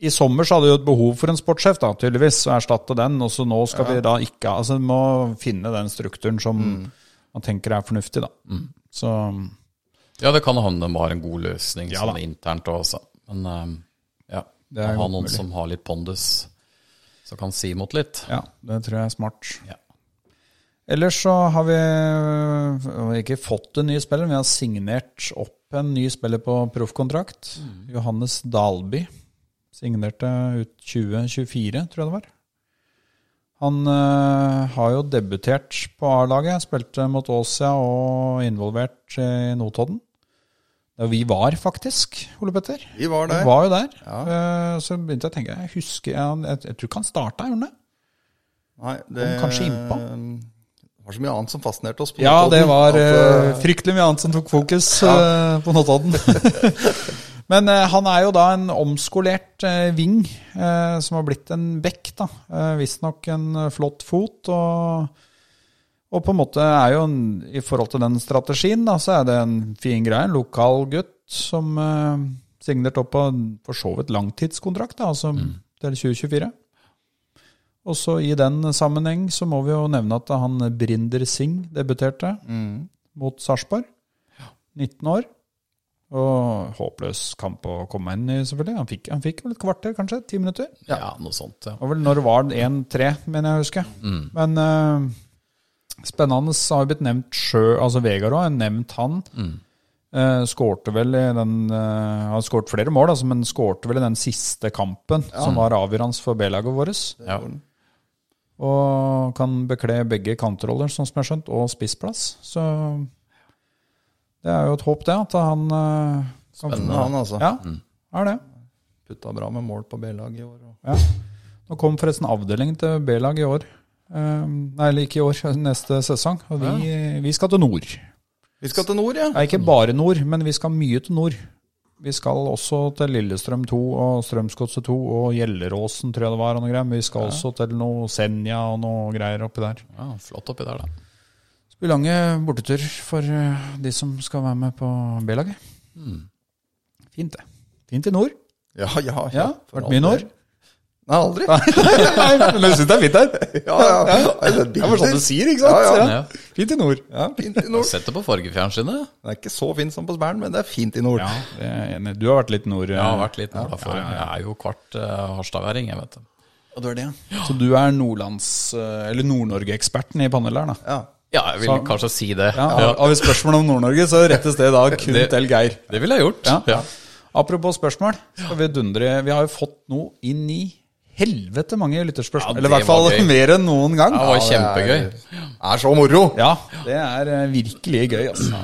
I sommer så hadde vi jo et behov for en sportssjef, da, tydeligvis, og erstatte den. Og så nå skal vi da ikke ha Altså, vi må finne den strukturen som man tenker er fornuftig, da. Så Ja, det kan hende de har en god løsning Ja, sånn da. internt også. Men eh, ja, Det er ha godt noen mulig. som har litt pondus, som kan si imot litt. ja, det tror jeg er smart. Ja. Ellers så har vi øh, ikke fått en ny spiller, men vi har signert opp en ny spiller på proffkontrakt. Mm. Johannes Dalby. Signerte ut 2024, tror jeg det var. Han øh, har jo debutert på A-laget. Spilte mot Åsia og involvert i Notodden. Der vi var, faktisk, Ole Petter. Vi var Vi der. var jo der. Eh, Så begynte jeg å tenke Jeg husker, jeg, jeg, jeg tror ikke han starta, gjorde han det? Nei, det Kom kanskje innpå. Det var så mye annet som fascinerte oss. på Ja, Notodden, det var at, eh, fryktelig mye annet som tok fokus eh, på Notodden. Men eh, han er jo da en omskolert eh, ving eh, som har blitt en bekk, da. Eh, Visstnok en eh, flott fot. Og, og på en måte er jo en, i forhold til den strategien, da, så er det en fin greie. En lokal gutt som eh, signerte opp på en for så vidt langtidskontrakt, da, altså til 2024. Og så i den sammenheng så må vi jo nevne at han Brinder Singh debuterte mot Sarpsborg. 19 år. Og håpløs kamp å komme inn i, selvfølgelig. Han fikk, han fikk vel et kvarter, kanskje? Ti minutter? Ja, noe sånt. Ja. Og vel når var det 1-3, mener jeg å huske. Men eh, spennende så har jo blitt nevnt sjø, altså Vegard òg, nevnt han. Eh, skårte vel i den eh, Han skårte flere mål, altså, men skårte vel i den siste kampen som var avgjørende for B-laget vårt. Ja. Og kan bekle begge kantroller, sånn som jeg har skjønt, og spissplass. Så det er jo et håp, det. At han eh, kan eh, Han altså. Ja, er det. Putta bra med mål på B-laget i år. Og. Nå kom forresten avdelingen til B-lag i år. Eh, nei, eller ikke i år, neste sesong. Og vi, vi skal til nord. Vi skal til nord, ja. Nei, ikke bare nord, men vi skal mye til nord. Vi skal også til Lillestrøm 2 og Strømsgodset 2 og Gjelleråsen, tror jeg det var. Og noe greier. Men vi skal også til noe Senja og noe greier oppi der. ja, flott oppi der, da. Det blir lange borteturer for eh, de som skal være med på B-laget. Mm. Fint, det. Fint i nord. Ja, ja, ja. Ja, for vært all mye i del. nord. Nei, aldri. Nei, men jeg syns det er fint der. Ja, ja. Jeg har sett Det er bare sånn bilder. du sier, ikke sant? Ja, ja. Ja. Fint i nord. Ja, fint i nord. Sett det på fargefjernsynet. Det er ikke så fint som på Spern, men det er fint i nord. Ja, det er jeg enig i. Du har vært litt nord. eh, Jeg har vært litt glad for Jeg er jo kvart uh, harstadværing, jeg, vet du. Så du er nordlands- eh, eller Nord-Norge-eksperten i panelet her, da. Ja. Ja, jeg vil Så- kanskje si det. Ja, Ja. Har vi spørsmål om Nord-Norge, så rettes det da kun Det- til Geir. Det ville jeg gjort. Ja. Ja. Apropos spørsmål, skal vi dundre Vi har jo fått noe inn i helvete mange lytterspørsmål. Ja, eller i det hvert fall var gøy. mer enn noen gang. Det var det kjempegøy. er- Er så moro! Ja, det er eh, virkelig gøy, altså.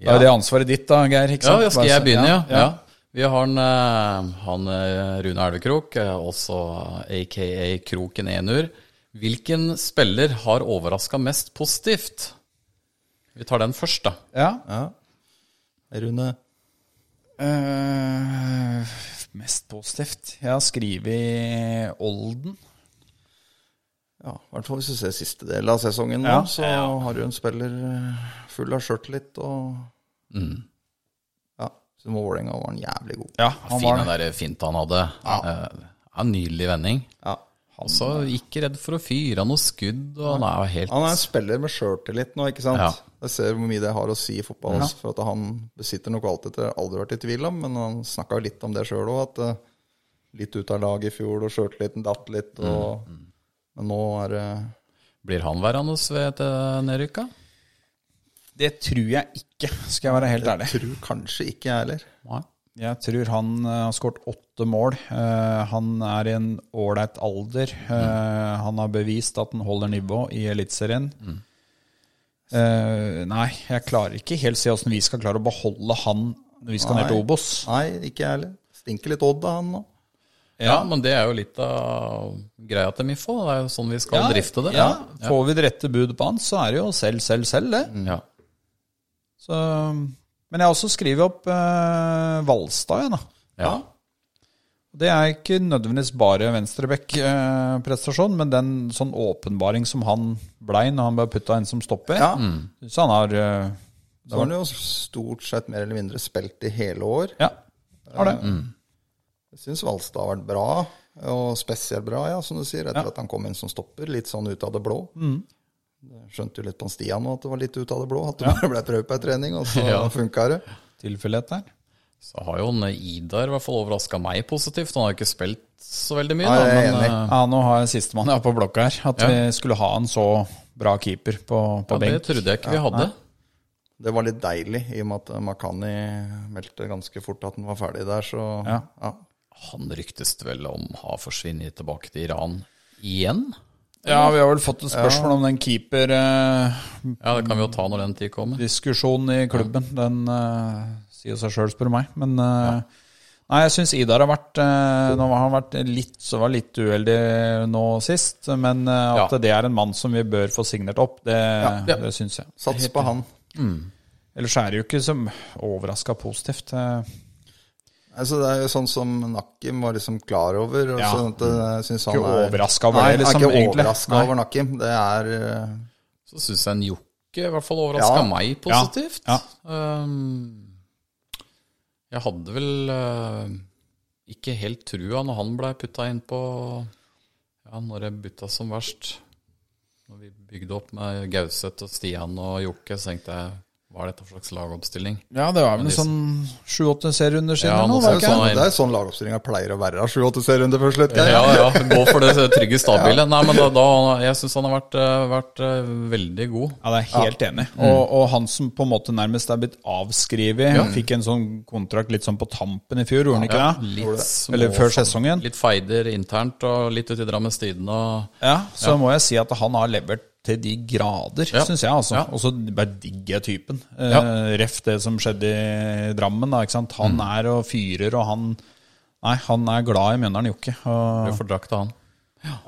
Det er jo det ansvaret ditt da, Geir. ikke Ja, sant? ja, skal Bare jeg så- begynne, ja. ja. ja. Vi har han, eh, han eh, Rune Elvekrok, eh, også aka Kroken Enur. Hvilken spiller har overraska mest positivt? Vi tar den først, da. Ja. Rune. Eh, mest positivt Jeg har skrevet Olden. Ja, i hvert fall hvis du ser siste del av sesongen nå, Ja. så har du en spiller eh, full av sjøltillit og Ja. Så med Vålerenga var han jævlig god. Mm. Ja, han Fin var den der finta han hadde. Eh, ja, nydelig vending. Ja. Altså, ikke redd for å fyre av noe skudd. Og han er jo helt Han er en spiller med sjøltillit nå, ikke sant? Ja. Jeg ser hvor mye det har å si i fotball. altså, For at han besitter noe alltid det har jeg aldri vært i tvil om, men han snakka litt om det sjøl òg, at eh, litt ut av laget i fjor, og sjøltilliten datt litt, og Men nå er det Blir han værende ved et eh, nedrykk, da? Det tror jeg ikke, skal jeg være helt ærlig. Tror kanskje ikke jeg heller. Nei. Jeg tror han eh, har skåret åtte mål. Eh, han er i en ålreit alder. Eh, Han har bevist at han holder nivå i Eliteserien. Eh, nei, jeg klarer ikke helt se åssen vi skal klare å beholde han når vi skal ned til Nei. Obos. Nei, ikke jeg heller. Stinker litt Odd av han nå. Ja, men det er jo litt av greia til Mifo. Det er jo sånn vi skal drifte det. Ja, Får vi det rette budet på han, så er det jo selv, selv, selv, det. Ja. Så, men jeg har også skrevet opp eh, Valstad, jeg, da. Ja. Det er ikke nødvendigvis bare venstreback-prestasjon, men den sånn åpenbaring som han blei når han ble putta inn som stopper Ja. Mm. Så han har eh, Så har han jo stort sett mer eller mindre spilt i hele år. Ja, har det. Mm. Jeg syns Valstad har vært bra, og spesielt bra, ja, som du sier, etter at han kom inn som stopper, litt sånn ut av det blå. Mm. Jeg Skjønte jo litt på han Stian nå at det var litt ut av det blå, at det bare ble prøvd på ei trening, og så Ja. funka det. Tilfeldighet der. Så har jo han eh, Idar i hvert fall overraska meg positivt. Han har jo ikke spilt så veldig mye, Nei, da, jeg er men enig. eh, Ja, nå har jeg sistemann jeg har på blokka her. At vi skulle ha en så bra keeper på, på ja, det benk. trodde jeg ikke vi hadde. Det var litt deilig, i og med at Makani meldte ganske fort at han var ferdig der, så Ja. Han ryktes vel om har forsvunnet tilbake til Iran igjen? Ja, vi har vel fått et spørsmål om den eh, keeperdiskusjonen Ja, det kan vi jo ta når den tid kommer. diskusjonen i klubben. Den eh, sier seg sjøl, spør du meg. Men eh, nei, jeg syns Idar har vært eh, Nå har han vært litt, så var litt uheldig nå sist, men eh, at Ja. det er en mann som vi bør få signert opp, det, ja. det syns jeg. Sats på han. Ellers er det jo ikke så overraska positivt. eh. Altså, det er jo sånn som Nakim var liksom klar over. Og Ja. sånn at jeg synes han Ikke er- overrasket over det, liksom, Nei, han er egentlig. ikke overraska Nei. over Nakim. Det er eh, Så syns jeg en Jokke i hvert fall overraska Ja. meg positivt. Ja. Um, jeg hadde vel eh, ikke helt trua når han blei putta inn på Ja, når jeg butta som verst. Når vi bygde opp med Gauseth og Stian og Jokke, så tenkte jeg hva er dette for slags lagoppstilling? Ja, det var vel sånn sju-åtte serierunder siden. Ja, eller noe, noe var det sånt. ikke? sånn, nei. Det er sånn lagoppstillinga pleier å være. 7-8 serierunder før slutt. Geir. Ja, ja. Gå for det trygge, stabile. Nei, men da, da Jeg syns han har vært, eh, vært eh, veldig god. Ja, Mm. det er jeg helt enig. Og, og han som på en måte nærmest er blitt avskrevet, han fikk en sånn kontrakt litt sånn på tampen i fjor, gjorde han ikke det? Litt små, Eller før sesongen. Litt feider internt og litt ute i Drammens Tidende og Ja, så må jeg si at han har levert til de grader, Ja. synes syns jeg. altså. Ja. Og så bare digger jeg typen. Ja. Eh, ref det som skjedde i Drammen. da, ikke sant? Han er og fyrer, og han Nei, han er glad i Mjøndalen Jokke. og- ble fordrakta, han.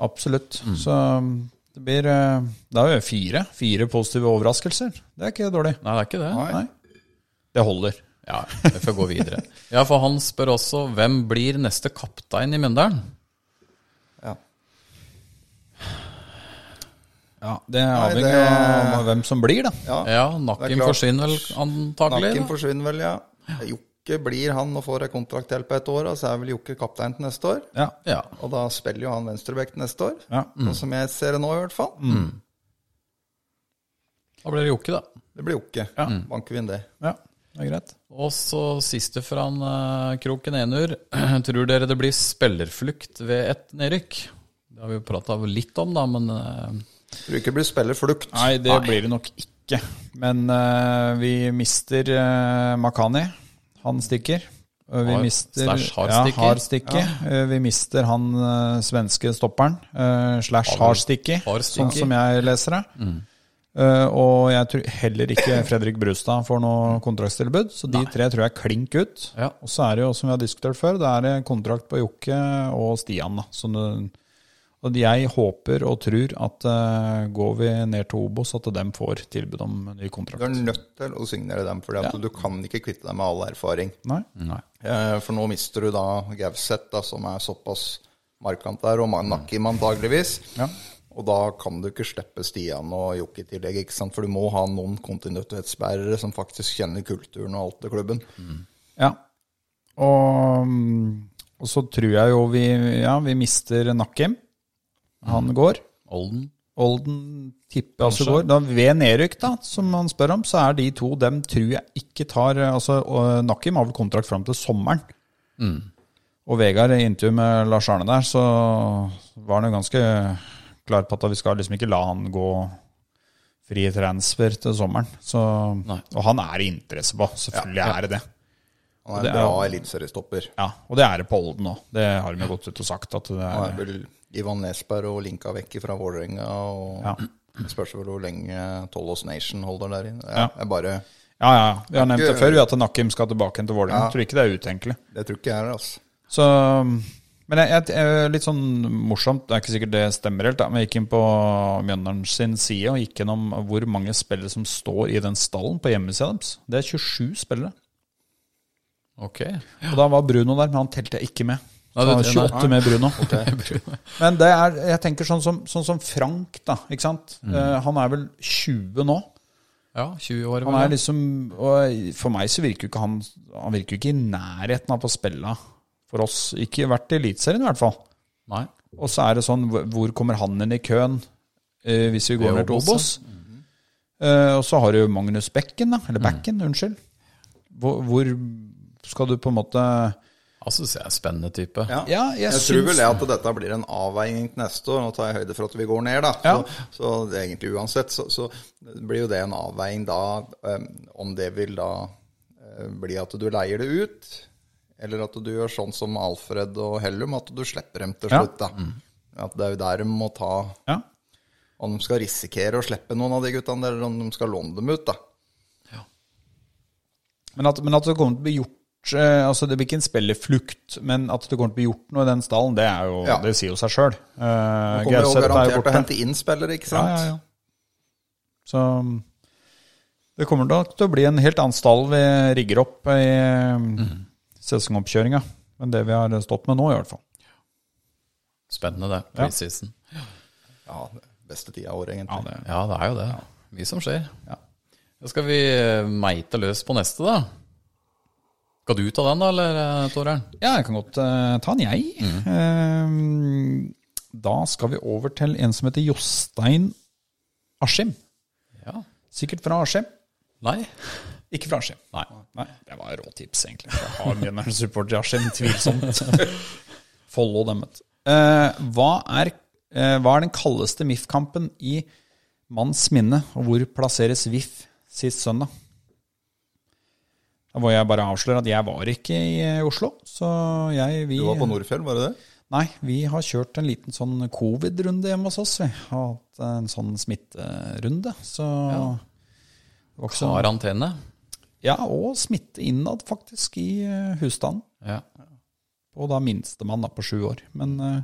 Absolutt. Så um, det blir eh, Det er jo fire. Fire positive overraskelser. Det er ikke dårlig. Nei, det er ikke det. Nei. Det holder. Ja, vi får gå videre. Ja, for han spør også hvem blir neste kaptein i Mjøndalen? Ja. Ja, Det Nei, avhenger det- av hvem som blir, da. Ja. Ja, Det er Nakim klart. forsvinner vel antagelig. Nakim da? forsvinner vel, ja. Jokke blir han og får en kontrakt til på ett år, og så er vel Jokke kaptein til neste år. Ja. Ja. Og da spiller jo han venstreback til neste år, Ja. sånn som jeg ser det nå i hvert fall. Da blir det Jokke, da. Det blir Jokke. Banker vi inn det. ja. Det er greit. Og så siste fra han, eh, Kroken Enur. Tror dere det blir spillerflukt ved et nedrykk? Det har vi jo prata litt om, da, men eh, Tror ikke det blir spillerflukt. Nei, det blir det nok ikke. Men eh, vi mister eh, Makani. Han stikker. Eh, Vi Har- mister slash har ja, stikker. har stikker. Eh, Vi mister han eh, svenske stopperen. eh, slash har stikker, har Mm. sånn stikker. som jeg leser det. Eh, og jeg tror heller ikke Fredrik Brustad får noe kontraktstilbud, så de tre tror jeg klink ut. Ja. Og så er det jo, som vi har diskutert før, det er eh, kontrakt på Jokke og Stian. da, som du- og jeg håper og tror at eh, går vi ned til Obos, at de får tilbud om ny kontrakt. Du er nødt til å signere dem, for du kan ikke kvitte deg med all erfaring. Nei? Eh, For nå mister du da Gauseth, da, som er såpass markant der, og Nakim antageligvis. Og da kan du ikke slippe Stian og Jokke i tillegg, ikke sant? for du må ha noen kontinuitetsbærere som faktisk kjenner kulturen og alt i klubben. Mm. Ja. Og, mm, og så tror jeg jo vi, ja, vi mister Nakim. Han går. Mm. Olden Olden tipper altså går. Da, ved nedrykk, da, som han spør om, så er de to dem tror jeg ikke tar eh, altså, og Nakim har vel kontrakt fram til sommeren. Mm. Og Vegard i intervju med Lars Arne der, så var han jo ganske klar på at vi skal liksom ikke la han gå fri transfer til sommeren. Så, Nei. og han er det interesse på, selvfølgelig er det det. Han Og er det en er jo- bra eliteseriestopper. Ja, Og det er det på Olden òg. Det har de jo gått ut og sagt. at det Han er... er vel Ivan Nesberg og linka vekk fra Vålerenga. Og Ja. det spørs vel hvor lenge Tollos Nation holder der inne. Ja. Ja, jeg bare, Ja, ja. Vi har nevnt det før, vi, at Nakim skal tilbake igjen til Vålerenga. Tror ikke det er utenkelig. det tror ikke jeg er altså. Så, men jeg, jeg, jeg- litt sånn morsomt, det er ikke sikkert det stemmer helt, da, men jeg gikk inn på Mjøndalen sin side og gikk gjennom hvor mange spillere som står i den stallen på hjemmesida deres. Det er 27 spillere. Ok. Og da var Bruno der, men han telte jeg ikke med. Nei, Ta du- nei. 28 med Bruno. Men det er, jeg tenker sånn som, sånn som Frank, da. Ikke sant? Eh, han er vel 20 nå. Ja, 20 år. Han er liksom, og for meg så virker jo ikke han Han virker jo ikke i nærheten av å spille for oss. Ikke vært i Eliteserien, i hvert fall. Nei. Og så er det sånn, hvor- hvor kommer han inn i køen eh, hvis vi Det er går ned til Obos, ja. Obos? Eh, og så har du Magnus Bekken, da. Mm. Eller Bekken, unnskyld. Hvor, hvor skal du på en måte Jeg syns jeg Altså, er en spennende type. Ja. Ja, jeg jeg tror syns- vel det at dette blir en avveining til neste år. Nå tar jeg høyde for at vi går ned, da. Ja. Så, så det er egentlig uansett så, så blir jo det en avveining da eh, om det vil da eh, bli at du leier det ut, eller at du gjør sånn som Alfred og Hellum, at du slipper dem til Ja. Mm. slutt, da. At det er jo der de må ta Ja. Om de skal risikere å slippe noen av de guttene, eller om de skal låne dem ut, da. Men at, men at det kommer til å bli gjort eh, Altså Det blir ikke en spillerflukt, men at det kommer til å bli gjort noe i den stallen, det, er jo, Ja. det sier jo seg sjøl. Uh, Kommer jo garantert til å hente inn spillere, ikke sant? Ja, ja, ja. Så um, det kommer nok til å bli en helt annen stall vi rigger opp i mm. sesongoppkjøringa enn det vi har stått med nå, i hvert fall. Spennende, det. Ja. Preseason. Ja, beste tida av året, egentlig. Ja, det er jo det. Mye som skjer. Ja. Da skal vi eh, meite løs på neste, da. Skal du ta den, da, eller eh, Toreren? Ja, jeg kan godt eh, ta den, jeg. Eh, da skal vi over til en som heter Jostein Askim. Ja. Sikkert fra Askim. Nei? Ikke fra Askim. Nei. Nei, det var råtips, egentlig. Jeg har Mjøndalen-supporter i Askim, tvilsomt. Follo dem, vet du. Eh, hva, er, eh, hva er den kaldeste MIF-kampen i manns minne, og hvor plasseres VIF sist søndag? Da må jeg bare avsløre at jeg var ikke i eh, Oslo, så jeg vi, Du var på Nordfjell, var det det? Nei, vi har kjørt en liten sånn covid-runde hjemme hos oss. Vi har hatt en sånn smitterunde, så det var ikke så- Karantene? ja, og smitte innad faktisk i eh, husstanden. Ja. Og da minstemann da på sju år. Men, eh,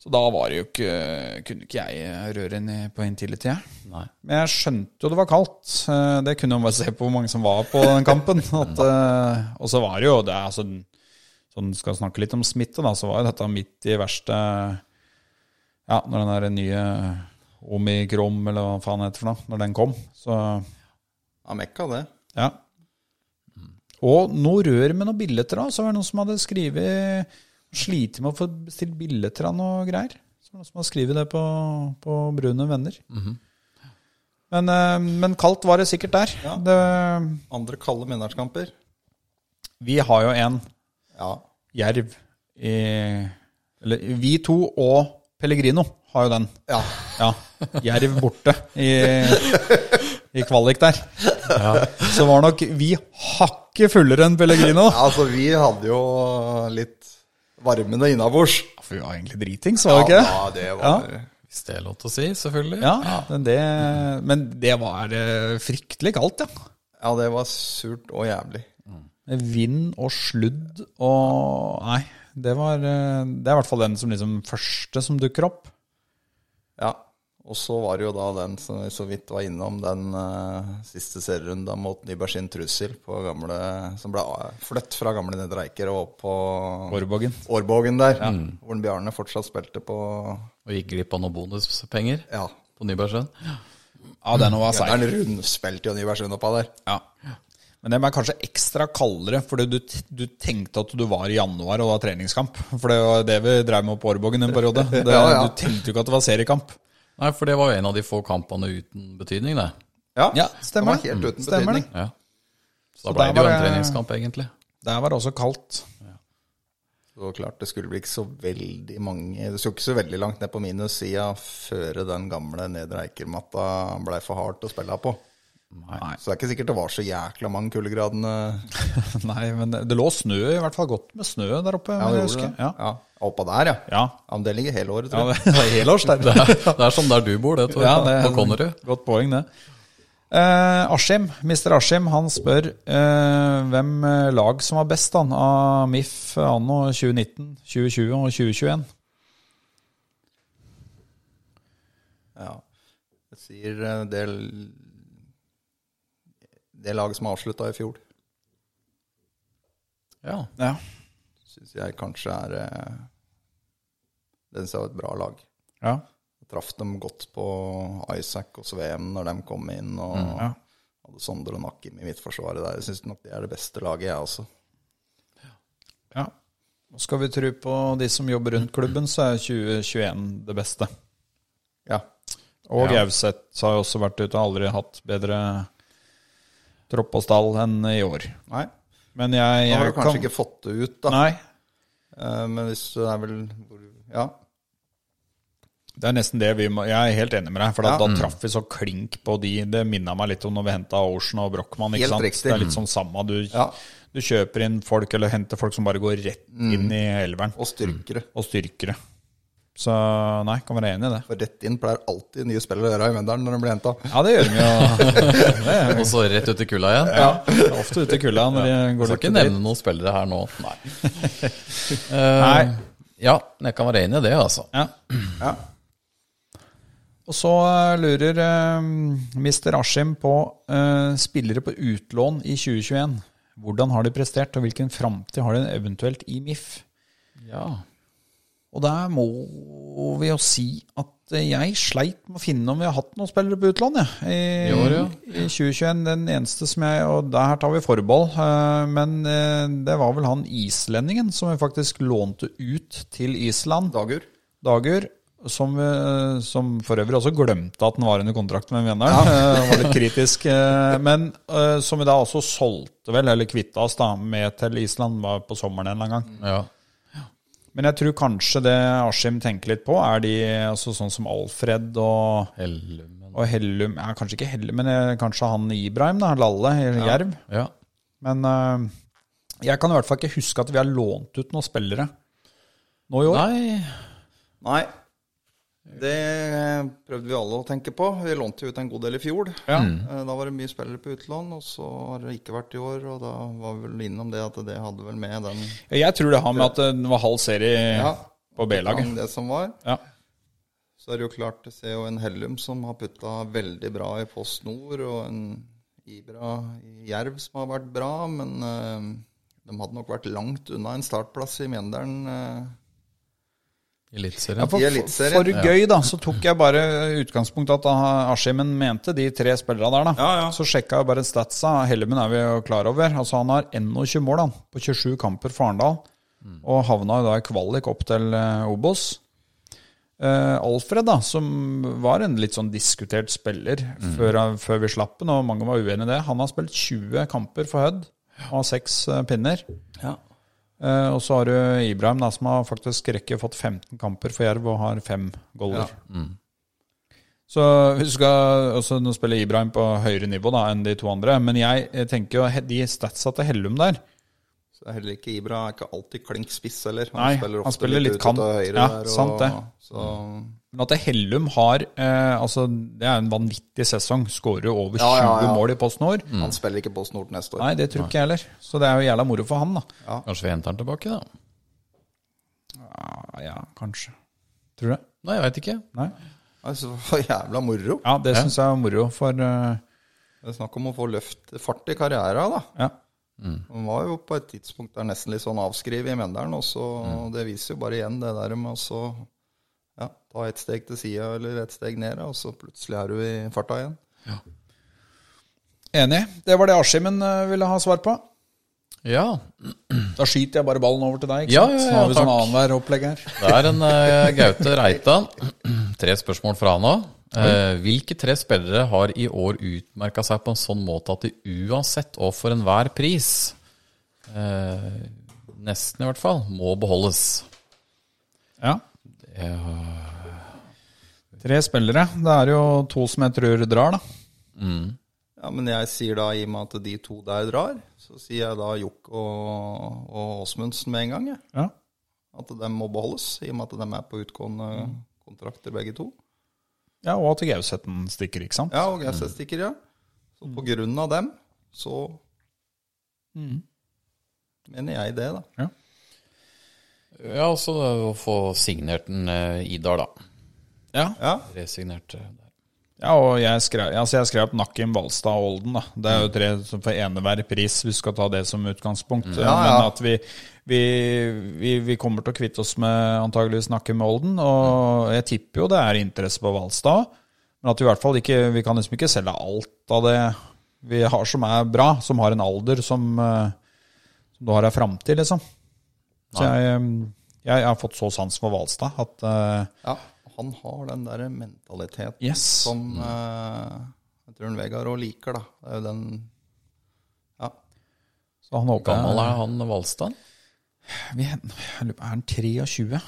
så da var det jo ikke, kunne ikke jeg eh, røre inn i, på Intility, jeg. Nei. Men jeg skjønte jo det var kaldt. Eh, Det kunne man bare se på hvor mange som var på den kampen. At, eh, og så var det jo det er altså, Sånn skal snakke litt om smitte, da, så var jo dette midt i verste Ja, når den der nye omikrom, eller hva faen det heter for noe, når den kom. Så Ja, Mekka, det. ja. Og noe rør med noen billetter av. Så var det noen som hadde skrevet Slitt med å få bestilt billetter av noe greier. Så var det noen som hadde skrevet det på, på Brune venner. men, eh, men kaldt var det sikkert der. Det, Andre kalde minnerskamper. vi har jo en Ja. jerv i Eller vi to og Pellegrino har jo den. Ja. Ja, Jerv borte i, i kvalik der. Så var nok vi hakket fullere enn Pellegrino. Altså, vi hadde jo litt varmende innabords. Ja, For vi var egentlig dritings, var vi ikke det? Ja, det var Hvis det er lov til å si, selvfølgelig. Ja, men det, men det var eh, fryktelig kaldt, ja. Ja, det var surt og jævlig. Med vind og sludd og Nei, det var eh, Det er i hvert fall den som liksom første som dukker opp. Ja. Og så var det jo da den som vi så vidt var innom, den eh, siste serierunda mot Nybergsin Trussel, på gamle, som ble eh, flytt fra gamle Nedre Eiker og opp på Årbågen. Årbogen der, Mm. hvor den Bjarne fortsatt spilte på Og gikk glipp av noen bonuspenger Ja. på Nybergsjøen. Ja, den var Det er en rundspilt i Nybergsin oppa der. Ja. Men den var kanskje ekstra kaldere, fordi du, t- du tenkte at du var i januar og det var treningskamp. For det var det vi drev med på Årbogen en periode. Det, Ja, ja. Du tenkte jo ikke at det var seriekamp. Nei, for det var jo en av de få kampene uten betydning, det. Ja, Ja, stemmer det. var Helt uten Stemmer betydning. det. Ja. Så Så da ble der det jo var en det- treningskamp, egentlig. Der var det også kaldt. Så klart, det skulle bli ikke så veldig mange Det skulle ikke så veldig langt ned på minussida før den gamle nedre Eikermatta blei for hardt å spille på. Nei. Så det er ikke sikkert det var så jækla mange kuldegradene. Nei, men det lå snø, i hvert fall godt med snø der oppe. vil jeg huske. Ja. Ja. Oppå der, ja. Ja. Ja, men det ligger hele året, ja, tror jeg. det var helårs der. Det er, det er som der du bor, det, Tor. Ja, det er på Konnerud. Godt poeng, det. Eh, Askim, Mr. Askim, han spør eh, hvem eh, lag som var best da, av MIF anno 2019, 2020 og 2021. Ja. Jeg sier eh, det, det laget som avslutta i fjor. Ja. Ja. syns jeg kanskje er eh, Den ser ut et bra lag. Ja. Traff dem godt på Isaac og Sveen når de kom inn, og Mm, hadde Sondre og Nakim i midtforsvaret der. Jeg syns nok det er det beste laget, jeg også. ja. Og skal vi tro på de som jobber rundt klubben, så er 2021 det beste. Ja. Og Gauseth har jo også vært ute og aldri hatt bedre tropp og stall enn i år. Nei. Men jeg, Nå jeg har du kanskje kan- ikke fått det ut, da. Nei, Eh, Men hvis det er vel Ja. det er nesten det vi må Jeg er helt enig med deg, for da- Ja. Mm. da traff vi så klink på de. Det minna meg litt om når vi henta Ocean og Brochmann. Helt Ikke sant? riktig. Mm. Det er litt sånn samme. Du, Ja. du kjøper inn folk, eller henter folk som bare går rett Mm. inn i elveren, Og styrkere. og styrker det. Så nei, kan være enig i det. For rett inn pleier alltid nye spillere å gjøre i Mjøndalen når de blir henta. Ja, det gjør de jo. Og så rett ut i kulda igjen. Det er Ofte ute i kulda når de går Skal litt dit. ikke nevne noen spillere her nå. Nei. Eh, Ja, men jeg kan være enig i det, altså. Ja. Ja. Og så eh, lurer eh, Mr. Askim på eh, spillere på utlån i 2021. Hvordan har de prestert, og hvilken framtid har de eventuelt i MIF? Ja. Og der må vi jo si at eh, jeg sleit med å finne om vi har hatt noen spillere på utlån jeg, i, I år, ja. i 2021. Den eneste som jeg Og der tar vi forbehold, eh, men eh, det var vel han islendingen som vi faktisk lånte ut til Island. Dagur. Dagur, som, eh, som for øvrig også glemte at den var under kontrakt med Mjøndalen. eh, var litt kritisk. eh, Men eh, som vi da også solgte, vel, eller kvitta oss da med til Island, var på sommeren en eller annen gang. ja. Men jeg tror kanskje det Askim tenker litt på, er de altså sånn som Alfred og Helmen. og Hellum ja, Kanskje ikke Hellum, men eh, kanskje han Ibrahim, da, Lalle i Jerv. Ja. Men eh, jeg kan i hvert fall ikke huske at vi har lånt ut noen spillere nå i år. Nei, Nei. Det prøvde vi alle å tenke på. Vi lånte jo ut en god del i fjor. Mm. Eh, Da var det mye spillere på utlån, og så har det ikke vært i år. Og da var vi vel innom det at det hadde vel med den Jeg tror det har med at eh, det var halv serie Ja. på B-laget. det som var. Ja. Så er det jo klart, det ser jo en Hellum som har putta veldig bra i Post Nord, og en Ibra i Jerv som har vært bra, men eh, de hadde nok vært langt unna en startplass i Mjønderen. eh. Eliteserien. For, I for, Eliteserien. for gøy, da, så tok jeg bare utgangspunkt at ah, Ashimen mente de tre spillerne der, da. Så sjekka jeg bare statsa. Hellemen er vi jo klar over. Altså Han har 21 mål han, på 27 kamper for Arendal, og havna jo da i kvalik opp til eh, Obos. Eh, Alfred, da, som var en litt sånn diskutert spiller før, han- før vi slapp den, og mange var uenig i det, han har spilt 20 kamper for Hødd og har seks eh, pinner. Eh, og så har du Ibrahim, da, som har faktisk rekke fått 15 kamper for Jerv og har fem goller. Så hvis du skal også nå spiller Ibrahim på høyere nivå da, enn de to andre. Men jeg eh, tenker jo he- de statsa til Hellum der Så det er heller ikke Ibra er ikke alltid klink spiss heller. Nei, han ofte spiller litt ut til kant. høyre Ja, der, sant det. Så, Men at Hellum har eh, altså Det er en vanvittig sesong. Skårer jo over 20 Ja, ja, ja. mål i Post Nord. Han spiller ikke Post Nord neste år. Nei, det tror ikke jeg heller. Så det er jo jævla moro for han, da. Kanskje vi henter den tilbake, da. Ja, ja kanskje. Tror du det? Nei, jeg veit ikke. Nei? Altså, det var jævla moro. Ja, det synes syns jeg er moro, for eh, Det er snakk om å få løft fart i karrieren, da. Ja. Han var jo på et tidspunkt der nesten litt sånn avskrevet i Mjøndalen, og så det viser jo bare igjen det der med å så ja, ta et steg til sida eller et steg ned, og så plutselig er du i farta igjen. Enig. Det var det Ashimen eh, ville ha svar på. Ja. Da skyter jeg bare ballen over til deg. ikke Ja, sant? ja, ja, Så har vi sånn takk. annenhver opplegg her. Det er en eh, Gaute Reitan. Tre spørsmål fra han òg. Eh, hvilke tre spillere har i år utmerka seg på en sånn måte at de uansett og for enhver pris, eh, nesten i hvert fall, må beholdes? Ja. øh, Tre spillere. Det er jo to som jeg tror drar, da. Ja, men jeg sier da, i og med at de to der drar, så sier jeg da Jokk og, og Åsmundsen med en gang, jeg. Ja. At de må beholdes, i og med at de er på utgående kontrakter begge to. ja og at Gauseten stikker, ikke sant? Ja, og GSS-stikker, ja. Så Mm. på grunn av dem, så mener jeg det, da. Ja, altså, også det å få signert en eh, Idar, da. Ja. Ja, Resignert. eh, der. Ja, og jeg skrev, altså jeg skrev opp Nakkim, Valstad og Olden. Da. Det er jo tre som for enhver pris, vi skal ta det som utgangspunkt. ja. Men at vi, vi, vi, vi kommer til å kvitte oss med antageligvis Nakkim og Olden. Og jeg tipper jo det er interesse på Valstad. Men at vi i hvert fall ikke Vi kan liksom ikke selge alt av det vi har som er bra, som har en alder som, eh, som du har ei framtid, liksom. Så jeg, eh, jeg har fått så sans for Hvalstad at eh, Ja, han har den der mentaliteten Yes. Mm. som eh, jeg tror en Vegard òg liker, da. Det er jo den Ja. så han håper jeg- Gammel er han Valstad? Vi, jeg lurer på, er han 23? 3-24.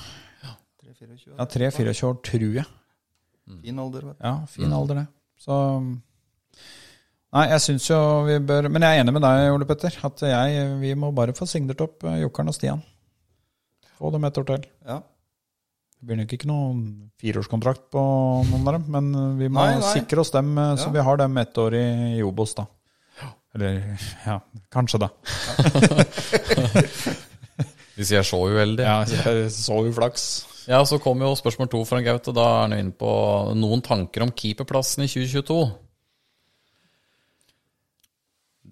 Ja, 3-24 år, tror jeg. Fin alder, vet du. Ja, fin alder, det. Så mm. Nei, jeg syns jo vi bør Men jeg er enig med deg, Ole Petter. At jeg, vi må bare få signert opp eh, Jokeren og Stian. Få dem et år til. Ja. Det blir nok ikke noen fireårskontrakt på noen av dem, men eh, vi må Nei, nei. sikre oss dem, eh, så Ja. vi har dem ett år i i Obos, da. Eller ja, kanskje, da. Hvis jeg så uheldig. Ja, jeg så jo flaks. Ja, så kom jo spørsmål to fra Gaute. Da er han jo inne på noen tanker om keeperplassen i 2022.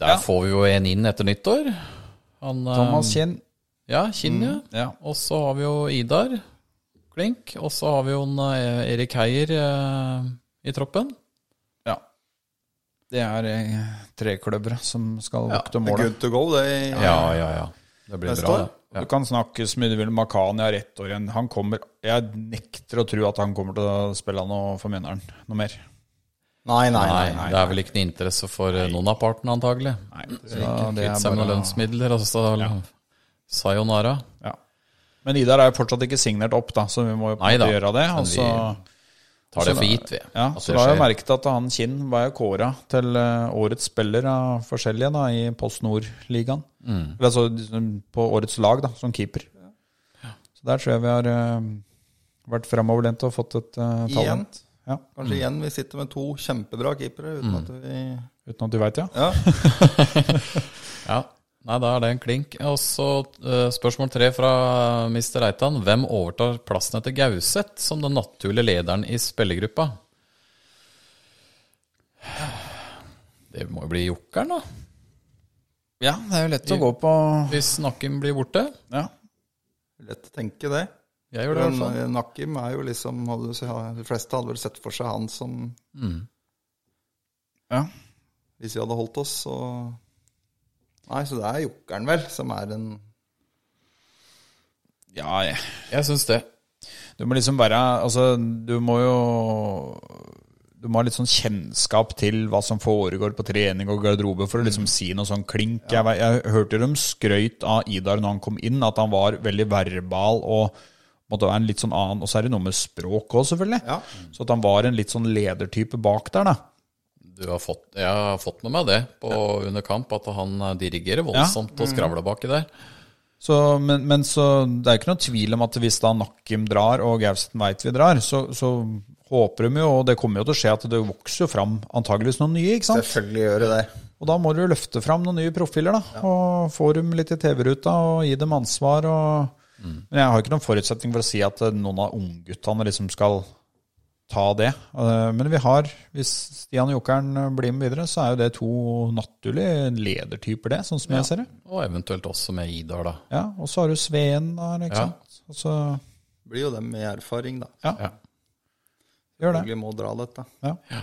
Der Ja. får vi jo en inn etter nyttår. Han, eh, Thomas Kinn. Ja, Kinn, ja. Um, Ja. Og så har vi jo Idar Klink. Og så har vi jo en, eh, Erik Heier eh, i troppen. Ja. Det er eh, trekløvere som skal vokte Det er målet. good to go, det. i- Ja, ja, ja. Det blir Neste bra. år? det. Ja. Du kan snakke så mye du vil. Makani har ett år igjen. Han kommer Jeg nekter å tro at han kommer til å spille noe for Mjøndalen noe mer. Nei, nei, Nei, nei. nei. det er vel ikke noe interesse for eh, noen av partene, antagelig. Nei, Så Kvitt seg med lønnsmidler, altså. Sayonara. ja. Men Idar er jo fortsatt ikke signert opp, da, så vi må jo på en Nei da, måte gjøre det. men Og så, Tar det for gitt, vi. ja, at så det da har jeg skjer. merket at han Kinn var jo kåra til eh, årets spiller av forskjellige da, i Post Nord-ligaen. Eller Altså liksom, på årets lag, da, som keeper. Så der tror jeg vi har eh, vært framoverlente og fått et eh, Igjen. talent. Mm. Ja, Kanskje igjen vi sitter med to kjempebra keepere uten at vi uten at du veit, ja. Ja. Ja. Nei, da er det en klink. Og så eh, spørsmål tre fra Mr. Reitan. Hvem overtar plassen etter Gauseth som den naturlige lederen i spillergruppa? Det må jo bli jokeren, da. Ja, det er jo lett å gå på Hvis Nakken blir borte. ja. Lett å tenke det. Jeg gjør det i hvert fall. Men eh, Nakim er jo liksom hadde, du sett- De fleste hadde vel sett for seg han som Mm. Ja. Hvis vi hadde holdt oss, så Nei, så det er jokeren, vel, som er en ja, jeg- Jeg syns det. du må liksom være Altså, du må jo Du må ha litt sånn kjennskap til hva som foregår på trening og garderobe for å liksom si noe sånn klink. Jeg, ve- jeg hørte dem skrøyt av Idar når han kom inn, at han var veldig verbal og måtte være en litt sånn annen Og så er det noe med språk òg, selvfølgelig. Ja. Så at han var en litt sånn ledertype bak der, da. Du har fått, jeg har fått med meg det på, under kamp, at han eh, dirigerer voldsomt og skravler baki der. Så, men, men så det er jo ikke noe tvil om at hvis da Nakkim drar, og Gauseten veit vi drar, så, så håper de jo, og det kommer jo til å skje, at det vokser jo fram antageligvis noen nye. ikke sant? Selvfølgelig gjør det det. Og da må du jo løfte fram noen nye profiler, da. Og få dem litt i TV-ruta, og gi dem ansvar. og... Men jeg har ikke noen forutsetning for å si at eh, noen av ungguttene liksom skal ta det. Eh, Men vi har, hvis Stian og Jokeren eh, blir med videre, så er jo det to naturlige ledertyper, det, sånn som jeg ser det. Og eventuelt også med Idar, da. Ja, og så har du Sveen der, ikke Ja. sant. Og så Blir jo dem med erfaring, da. ja. Ja. Gjør det. Selvfølgelig må dra dette. Ja. Ja,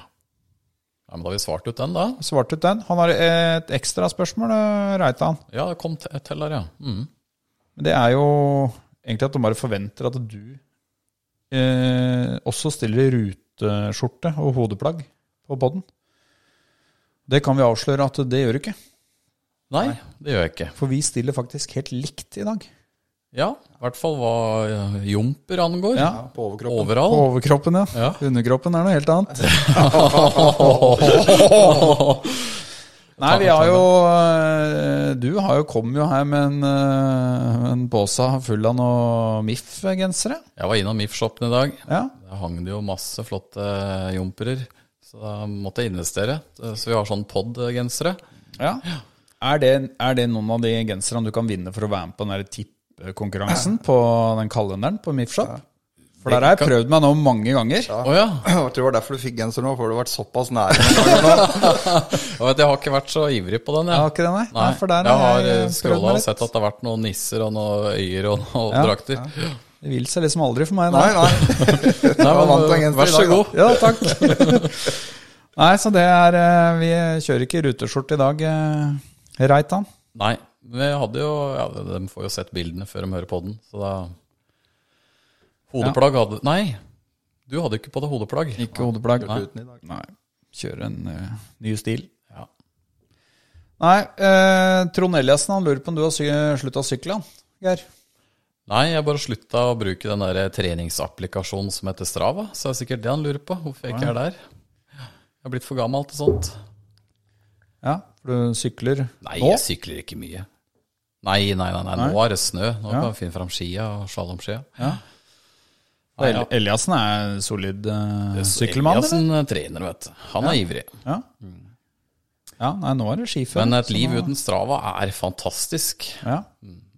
men da har vi svart ut den, da. Svart ut den. Han har et ekstra spørsmål, eh, Reitan. Ja, det kom te- til der, ja. Mm. Men det er jo egentlig at de bare forventer at du eh, også stiller i ruteskjorte og hodeplagg på podden. Det kan vi avsløre at det gjør du ikke. Nei, det gjør jeg ikke. For vi stiller faktisk helt likt i dag. Ja, i hvert fall hva eh, jumper angår. Ja. Ja, på overkroppen. På Overall. overkroppen, ja. Ja. Underkroppen er noe helt annet. Nei, vi har jo eh, Du har jo kom jo her med en, eh, en pose full av noe MIF-gensere. Jeg var innom MIF-shoppen i dag. Ja. Der hang det jo masse flotte jumperer. Så da måtte jeg investere. Så vi har sånn pod-gensere. ja. Er, det, er det noen av de genserne du kan vinne for å være med på den der tippekonkurransen på den kalenderen på MIF-shop? For For der har jeg prøvd meg nå mange ganger. Å ja. Jeg tror det var derfor du fikk genser nå, for du har vært såpass nære. noen ganger nå. Jeg, vet, jeg har ikke vært så ivrig på den, jeg. Jeg har ikke det, nei. Nei, Nei, for der jeg har har eh, jeg prøvd scrolla meg og litt. sett at det har vært noen nisser og noen øyer og noen Ja, drakter. Det vil seg liksom aldri for meg. Nei, Nei. nei. Nei, var vant til en men, genser vær i så dag, da. god. Ja, takk. nei, så det er eh, Vi kjører ikke ruteskjorte i dag, eh, Reitan. Nei, men jeg hadde jo ja, De får jo sett bildene før de hører på den, så da Hodeplagg hadde Nei, du hadde ikke på deg hodeplagg. Ikke hodeplagg. Nei. Uten i dag. Nei. Kjører en eh, ny stil. Ja. Nei, eh, Trond Eliassen han lurer på om du har sy slutta å sykle, han, Geir. Nei, jeg bare slutta å bruke den der eh, treningsapplikasjonen som heter Strava. Så det er sikkert det han lurer på, hvorfor jeg ikke er der. Jeg har blitt for gammel til sånt. Ja, for du sykler Nei, nå? jeg sykler ikke mye. Nei, nei, nei, nei, nå er det snø. Nå kan jeg finne fram skia og slalåmskia. Nei, El ja. Eliassen er en solid eh, sykkelmann, eller? Eliassen trener, vet du. Han er ivrig. Ja. ja, nei, nå er det skiføre. Men et så liv nå- uten Strava er fantastisk. Ja,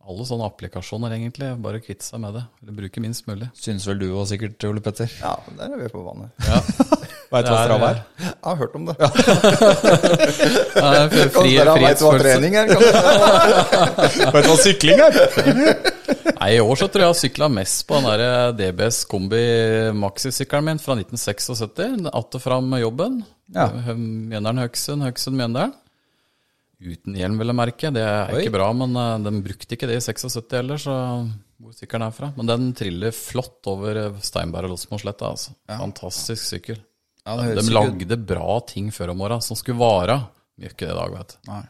Alle sånne applikasjoner, egentlig. Bare kvitte seg med det. Eller bruke minst mulig. Syns vel du òg sikkert, Ole Petter. Ja, der er vi på vannet. Veit du hva Strava er? Jeg har hørt om det. Nei, fri, Kan dere veit hva frihetsfølelse. trening er? Kan Veit du hva sykling er? Nei, I år så tror jeg jeg har sykla mest på den der eh, DBS Kombi Maxi-sykkelen min fra 1976. Att og fram med jobben. Ja. Hø- Mjøndalen Høgsund, Høgsund Mjøndalen. Uten hjelm, vil jeg merke. Det er Oi. ikke bra, men eh, den brukte ikke det i 76 heller, så hvor sykkelen er fra. Men den triller flott over eh, Steinberg og Losmosletta. Altså. Fantastisk sykkel. Ja, det høres De ikke ut. lagde bra ting før om åra som skulle vare. De Gjør ikke det i dag, vet du. Nei.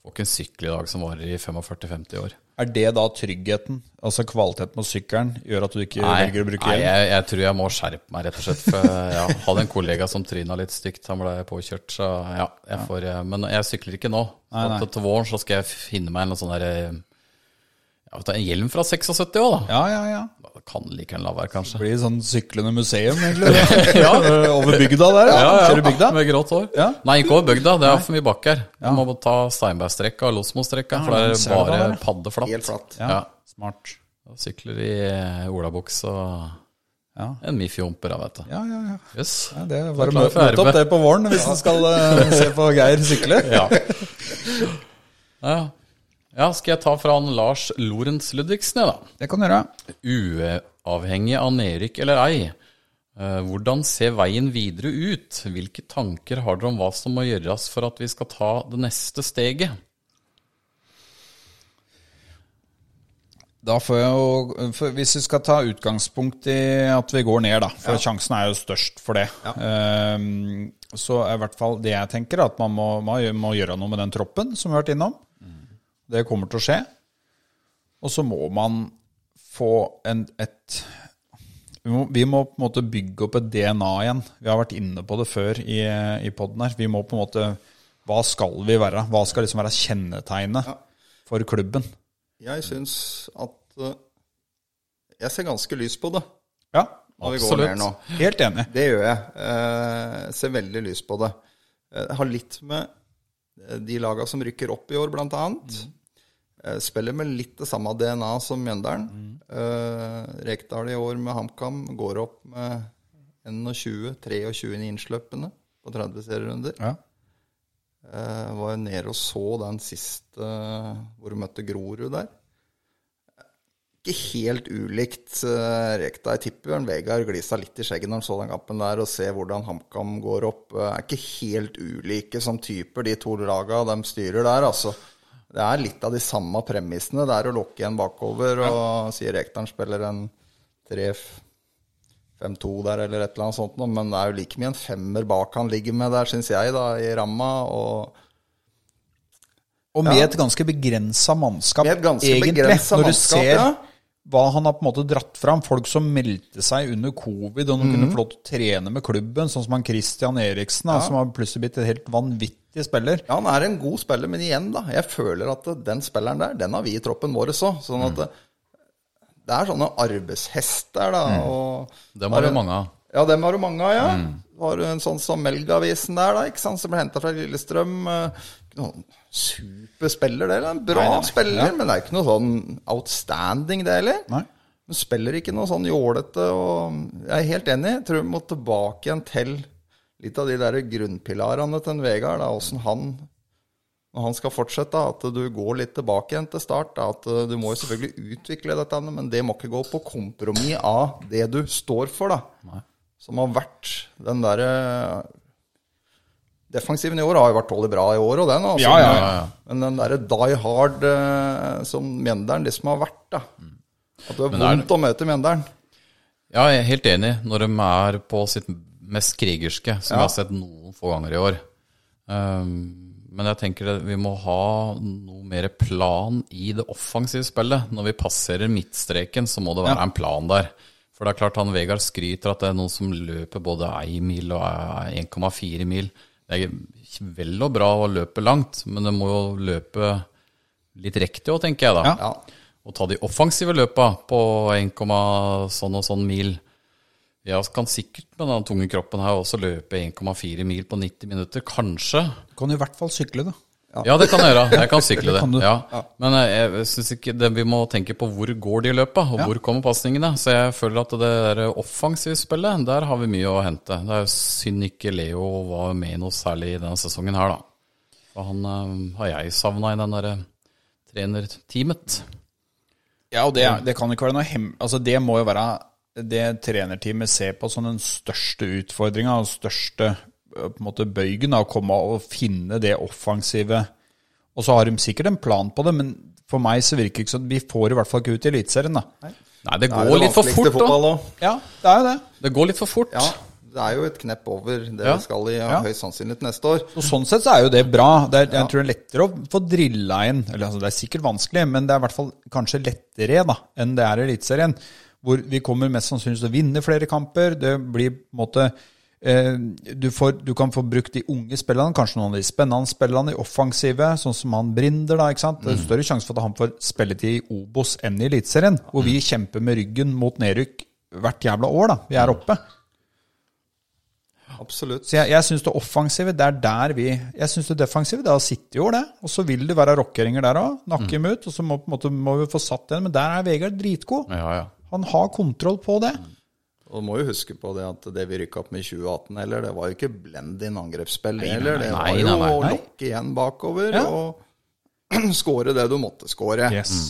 Får ikke en sykkel i dag som varer i 45-50 år. Er det da tryggheten, altså kvaliteten på sykkelen, gjør at du ikke velger å bruke nei, hjelm? jeg, jeg tror jeg må skjerpe meg, rett og slett. For eh, jeg hadde en kollega som tryna litt stygt. Han ble påkjørt, så ja. Jeg får, eh, men jeg sykler ikke nå. Så Nei, nei. til- Til våren så skal jeg finne meg en eller annen sånn derre ja, vet du, En hjelm fra 76 òg, da. Ja, ja, ja. Kan like en la være, kanskje. Det blir sånn syklende museum, egentlig. ja, Over bygda der. Ja, Kjører bygda. Med grått hår. Ja. Nei, ikke over bygda, det er for mye bakker. Du må ta Steinbergstrekka og Losmostrekka, for men det så er er det bare bare- paddeflatt. Helt flatt. Ja. Smart. Da Sykler i olabuks og Ja. en Miffy-jumper, da, vet du. Ja, ja, ja. Yes. Nei, det er bare å klar møte for møte opp RB. det på våren hvis du skal eh, se på Geir sykle. Ja. ja. Ja, skal jeg ta fra han Lars Lorentz Ludvigsen, jeg, da. Det kan du gjøre. Uavhengig av nedrykk eller ei, eh, hvordan ser veien videre ut? Hvilke tanker har dere om hva som må gjøres for at vi skal ta det neste steget? Da får jeg jo, for Hvis vi skal ta utgangspunkt i at vi går ned, da, for sjansen er jo størst for det, Ehm, så er i hvert fall det jeg tenker, at man må, man må gjøre noe med den troppen som vi har vært innom. Det kommer til å skje. Og så må man få en, et vi må, vi må på en måte bygge opp et DNA igjen. Vi har vært inne på det før i, i poden her. Vi må på en måte Hva skal vi være? Hva skal liksom være kjennetegnet for klubben? Jeg syns at eh, Jeg ser ganske lyst på det Ja, når vi går Absolutt. ned nå. helt enig. Det gjør jeg. Eh, ser veldig lyst på det. Eh, har litt med eh, de laga som rykker opp i år, blant annet. Eh, spiller med litt det samme DNA som Mjøndalen. Eh, Rekdal i år med HamKam går opp med 21-23 innslippene på 30 serierunder. Ja. Eh, var jo nede og så den siste eh, hvor du møtte Grorud der. Ikke helt ulikt eh, Rekdal. Jeg tipper Bjørn Vegard glisa litt i skjegget når han så den kampen der, og ser hvordan HamKam går opp. Eh, er ikke helt ulike som typer, de to laga de styrer der, altså. Det er litt av de samme premissene. Det er å lokke igjen bakover, og sier Rekdalen spiller en 3-5-2 der, eller et eller annet sånt noe, men det er jo like mye en femmer bak han ligger med der, syns jeg, da, i ramma. og... Og med et ganske begrensa mannskap, Med et ganske egentlig. begrenset når du mannskap, ser ja. hva han har på en måte dratt fram. Folk som meldte seg under covid, og de Mhm. kunne få lov til å trene med klubben. Sånn som han Christian Eriksen, da, som har plutselig blitt en helt vanvittig spiller. Ja, han er en god spiller, men igjen, da. Jeg føler at den spilleren der, den har vi i troppen vår også. Sånn at Mm. det er sånne arbeidshester, da. Og Mm. Dem har vi mange Mm. av. ja, dem har du mange av, ja. Har du en sånn som Melgavisen der, da, ikke sant, som ble henta fra Lillestrøm. eh, Noen superspiller, det. Eller en bra spiller, men det er ikke noe sånn outstanding, det heller. Nei. Hun spiller ikke noe sånn jålete, og jeg er helt enig. Jeg tror vi må tilbake igjen til litt av de der grunnpilarene til en Vegard. da, Åssen han når han skal fortsette, at du går litt tilbake igjen til start. da, At eh, du må jo selvfølgelig utvikle dette, men det må ikke gå på kompromiss av det du står for, da. Som har vært den derre eh, Defensiven i år har jo vært tålelig bra i år, og den. Altså, Ja, ja, ja, ja. Men den derre die hard eh, som Mjendalen liksom har vært, da. At det er er vondt å møte Mjendalen. Ja, jeg er helt enig. Når de er på sitt mest krigerske, som jeg har sett noen få ganger i år. Ehm, men jeg tenker det, vi må ha noe mer plan i det offensive spillet. Når vi passerer midtstreken, så må det være en plan der. For det er klart han Vegard skryter at det er noen som løper både 1 mil og eh, 1,4 mil. Det er vel og bra å løpe langt, men det må jo løpe litt riktig òg, tenker jeg da Ja. Ja. å ta de offensive løpa på 1, sånn og sånn mil. Jeg kan sikkert med den tunge kroppen her også løpe 1,4 mil på 90 minutter, kanskje. Kan jo i hvert fall sykle, da. Ja, det kan jeg gjøre. Jeg kan sykle det. kan du. Ja. Men jeg, jeg synes ikke det, vi må tenke på hvor går de løpa, og hvor kommer pasningene. Så jeg føler at det der offensive spillet, der har vi mye å hente. Det er jo synd ikke Leo var med noe særlig i denne sesongen her, da. For han eh, har jeg savna i den derre trenerteamet. Ja, og det, det kan ikke være noe hem... Altså, det må jo være det trenerteamet ser på som den største utfordringa og største eh, på en måte bøygen, da, å komme og finne det offensive. Og så har de sikkert en plan på det, men for meg så virker det ikke sånn. Vi får i hvert fall ikke ut i Eliteserien, da. Nei, det Det er går det litt for fort, vanskeligste da. fotball også. Ja, det er jo det. Det går litt for fort. Ja, det er jo et knepp over det Ja. vi skal i, Ja. høyst sannsynlig til neste år. Og sånn sett så er jo det bra. Det er, jeg tror det er lettere å få drilla inn Eller altså, det er sikkert vanskelig, men det er i hvert fall kanskje lettere da enn det er i Eliteserien. Hvor vi kommer mest sannsynlig til å vinne flere kamper. Det blir på en måte eh, du, får, du kan få brukt de unge spillerne, kanskje noen av de spennende spillerne, i offensive, sånn som han Brinder, da. ikke sant? Det er større sjanse for at han får spilletid i Obos enn i Eliteserien, hvor vi kjemper med ryggen mot nedrykk hvert jævla år, da. Vi er oppe. Absolutt. Så jeg, jeg syns det offensive, det er der vi Jeg syns det defensive, det har sittet i år, det. Og så vil det være rockeringer der òg. Nakke dem ut. Og så må, på en måte, må vi få satt den. Men der er Vegard dritgod. Ja, ja. Han har kontroll på det. Og du må jo huske på det at det vi rykka opp med i 2018 heller, det var jo ikke blend-in angrepsspill heller. Det var nei, jo nei, å nei. lokke igjen bakover Ja. og skåre det du måtte skåre. Yes.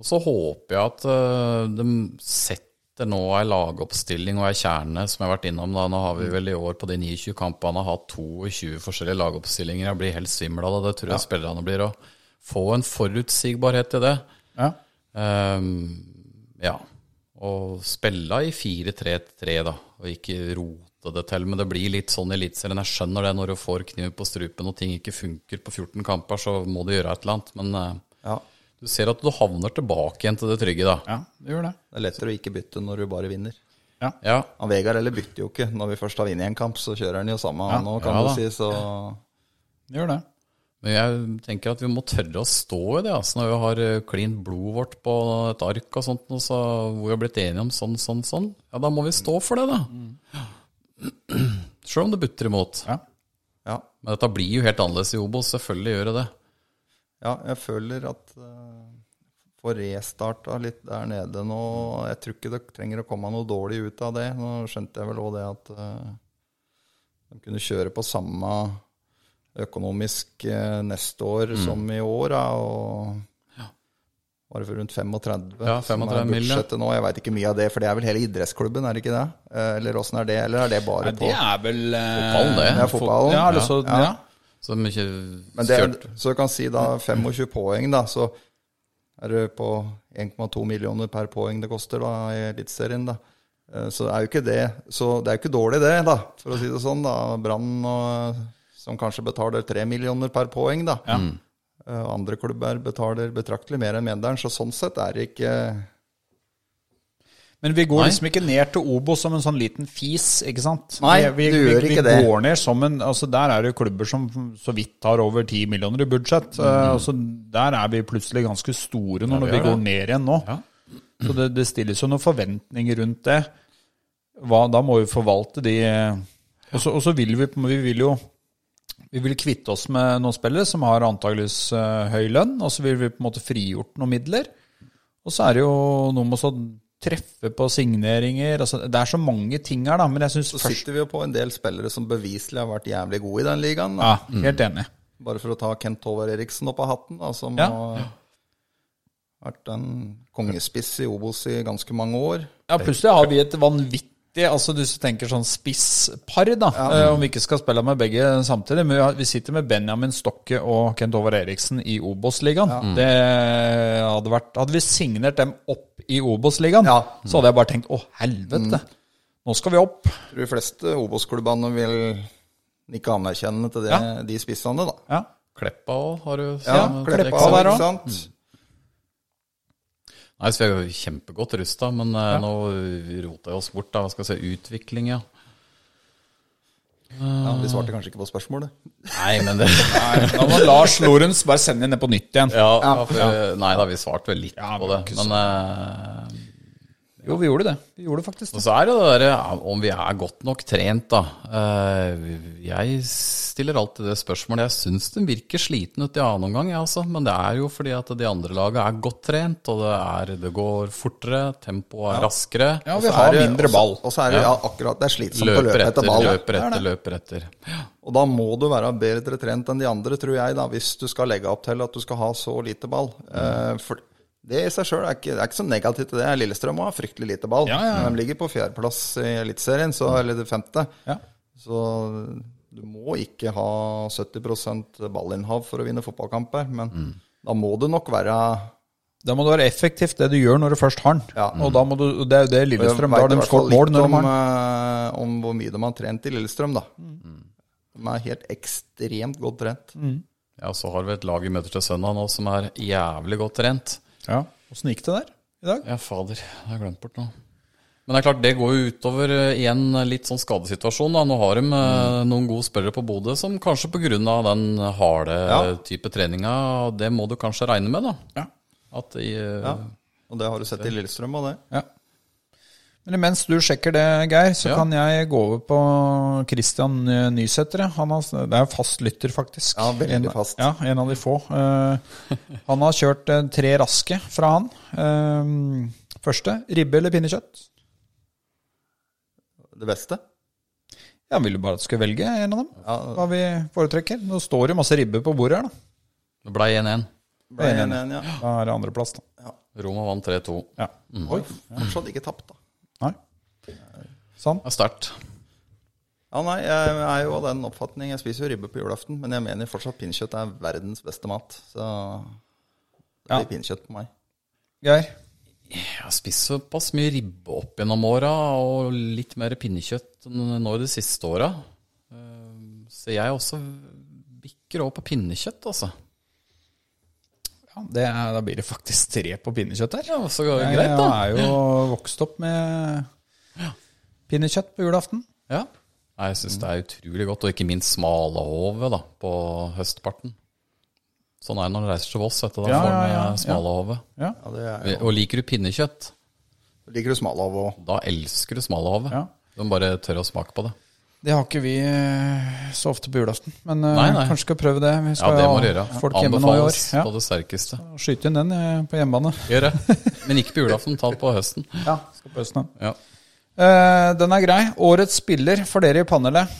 Og så håper jeg at øh, de setter nå ei lagoppstilling og ei kjerne, som jeg har vært innom. da. Nå har vi vel i år på de 29 kampene hatt 22 forskjellige lagoppstillinger. Jeg blir helt svimmel av det. Det tror jeg spillerne blir òg. Få en forutsigbarhet i det. Mm. Ja. Ehm, ja. Og spille i 4-3-3, da, og ikke rote det til. Men det blir litt sånn i Eliteserien. Jeg skjønner det, når du får kniven på strupen og ting ikke funker på 14 kamper, så må du gjøre et eller annet. Men eh, Ja. du ser at du havner tilbake igjen til det trygge, da. ja, det gjør det. Det er lettere å ikke bytte når du bare vinner. Ja, Han Vegard eller bytter jo ikke. Når vi først har vunnet en kamp, så kjører han jo samme han òg, kan ja du da. si. Så det, gjør det. Men jeg tenker at vi må tørre å stå i det. Altså, når vi har eh, klint blodet vårt på et ark og sånt, og så, hvor vi har blitt enige om sånn, sånn, sånn, ja, da må vi stå for det, da. Selv om det butter imot. Ja. ja. Men dette blir jo helt annerledes i Obos, selvfølgelig gjør det det. ja, jeg føler at uh, Får restarta litt der nede nå. Jeg tror ikke det trenger å komme noe dårlig ut av det. Nå skjønte jeg vel òg det at eh, de kunne kjøre på samme økonomisk eh, neste år som i år. Da, og var det for rundt 35? Ja, som er 35 mil, ja. budsjettet Nå. Jeg veit ikke mye av det, for det er vel hele idrettsklubben, er det ikke det? Eh, Eller åssen er det? Eller er det bare Nei, på det er vel eh, Fotball, det. Det er fotballen. Ja, eller så, ja. Så de ikke Men det, kjørt. så du kan si da 25 poeng, da, så er det på 1,2 millioner per poeng det koster da i Eliteserien, da. Eh, Så er jo ikke det Så det er jo ikke dårlig, det, da, for å si det sånn, da. Brann og- som kanskje betaler 3 millioner per poeng, da. Eh, og Andre klubber betaler betraktelig mer enn Mjøndalen, så sånn sett er det ikke Men vi går Nei. liksom ikke ned til Obos som en sånn liten fis, ikke sant? Nei, vi, du gjør ikke vi det. går ned som en Altså, der er det jo klubber som så vidt har over 10 millioner i budsjett. Eh, Mm. altså, der er vi plutselig ganske store nå, når vi, er går ned igjen nå. Ja. Så det, det stilles jo noen forventninger rundt det. Hva, da må vi forvalte de eh, Og så- og så vil vi, på- vi vil jo vi vil kvitte oss med noen spillere som har antageligvis eh, høy lønn, og så vil vi på en måte frigjort noen midler. Og så er det jo noe med å treffe på signeringer. Altså, det er så mange ting her, da, men jeg syns Så først sitter vi jo på en del spillere som beviselig har vært jævlig gode i den ligaen. Da. Ja, helt enig. Bare for å ta Kent Håvard Eriksen opp av hatten, da, som Ja. har vært en kongespiss i Obos i ganske mange år. Ja, plutselig har vi et vanvittig Altså du tenker sånn spisspar, da. Eh, om vi ikke skal spille med begge samtidig. Men vi, har, vi sitter med Benjamin Stokke og Kent Håvard Eriksen i Obos-ligaen. Det hadde vært Hadde vi signert dem opp i Obos-ligaen, Ja. Mm. så hadde jeg bare tenkt å, helvete. Nå skal vi opp. Jeg tror de fleste Obos-klubbene vil ikke anerkjenne til det, de spissene, da. Ja. Kleppa òg, har du Ja, sånn Kleppa eksempel? der også. òg. Nei, så vi er jo kjempegodt rusta, men eh, nå rota vi oss bort. da, Hva skal jeg si, utvikling, ja. Ja, de svarte kanskje ikke på spørsmålet. Nei, men det Da må Lars Lorentz bare sende inn det på nytt igjen. ja, for, Nei da, vi svarte vel litt Ja, på det. men ikke Men eh, Jo, vi gjorde det. Vi gjorde faktisk Og det. så er det det der, ja, om vi er godt nok trent, da. Eh, Jeg stiller alltid det spørsmålet. Jeg syns den virker sliten ut i annen omgang, jeg altså. Men det er jo fordi at de andre lagene er godt trent, og det, er, det går fortere, tempoet er raskere. Ja, vi har mindre ball. Og så er det ja, akkurat det er slitsomt å Løper løpe etter, etter ball. løper etter, løper etter. Og da må du være bedre trent enn de andre, tror jeg, da, hvis du skal legge opp til at du skal ha så lite ball. Mm. Eh, for det i seg sjøl er, ikke- det er ikke så negativt til det. Lillestrøm har fryktelig lite ball. Ja, ja, ja. De ligger på fjerdeplass i Eliteserien, så- eller det femte. Ja. Så du må ikke ha 70 ballinnhav for å vinne fotballkamper, men Mm. da må det nok være Da må det være effektivt, det du gjør når du først har den. Ja. Og da må du, og det er jo det Lillestrøm Jeg Da vet har i de hvert skåret fall mål litt når de har Mm. om, den. eh, om hvor mye de har trent i Lillestrøm, da. De er helt ekstremt godt trent. Ja, så har vi et lag vi møter til søndag nå som er jævlig godt trent. eh, Ja. Åssen gikk det der i dag? Ja, fader. Jeg har glemt bort noe. Men det er klart, det går jo utover eh, igjen litt sånn skadesituasjon. da. Nå har de eh, noen gode spillere på Bodø som kanskje pga. den harde Ja. type treninga, og det må du kanskje regne med, da. Ja. At de, eh, Ja. Og det har du sett i Lillestrøm, og det. Ja. Men mens du sjekker det, Geir, så Ja. kan jeg gå over på Christian eh, Nysæter. Han har, det er fast lytter, faktisk. Ja, veldig en, fast. Ja, en av de få. Eh, han har kjørt eh, tre raske fra han. Eh, første ribbe eller pinnekjøtt? Det beste. Ja, Han ville bare at du skulle velge en av dem. Ja. Hva vi foretrekker. Nå står det masse ribbe på bordet her, da. Det blei 1-1. Ble Jeg er en, en, ja. Da er det andreplass, da. Roma vant 3-2. Ja. Oi, fortsatt ikke tapt, da. Nei. Sånn. Det er sterkt. Ja, nei, jeg er jo av den oppfatning. Jeg spiser jo ribbe på julaften, men jeg mener fortsatt pinnekjøtt er verdens beste mat. Så det blir Ja. pinnekjøtt på meg. Geir. Jeg har spist såpass mye ribbe opp gjennom åra, og litt mer pinnekjøtt enn nå i de siste åra. Eh, Så jeg også bikker over på pinnekjøtt, altså. Ja, det er, da blir det faktisk tre på pinnekjøtt her. Ja, så Jeg, greit, da. er jo vokst opp med pinnekjøtt på julaften. Ja. Nei, jeg syns det er utrolig godt, og ikke minst smalahove da, på høstparten. Sånn er det når du reiser til Voss, vet du. Da Ja, ja, får du ja, med smalahove. Ja, det er jo. Og liker du pinnekjøtt, Liker du smalahove òg? da elsker du smalahove. Ja. Du må bare tørre å smake på det. Det har ikke vi eh, så ofte på julaften, men eh, Nei, nei. kanskje skal prøve det. Vi Ja, skal det må ha du gjøre. folk hjemme nå i år. Anbefales Ja, på det sterkeste. skyte inn den eh, på hjemmebane. Gjør det. Men ikke på julaften, ta det på høsten. Ja, skal på høsten. da. Ja. Eh, den er grei. Årets spiller for dere i panelet.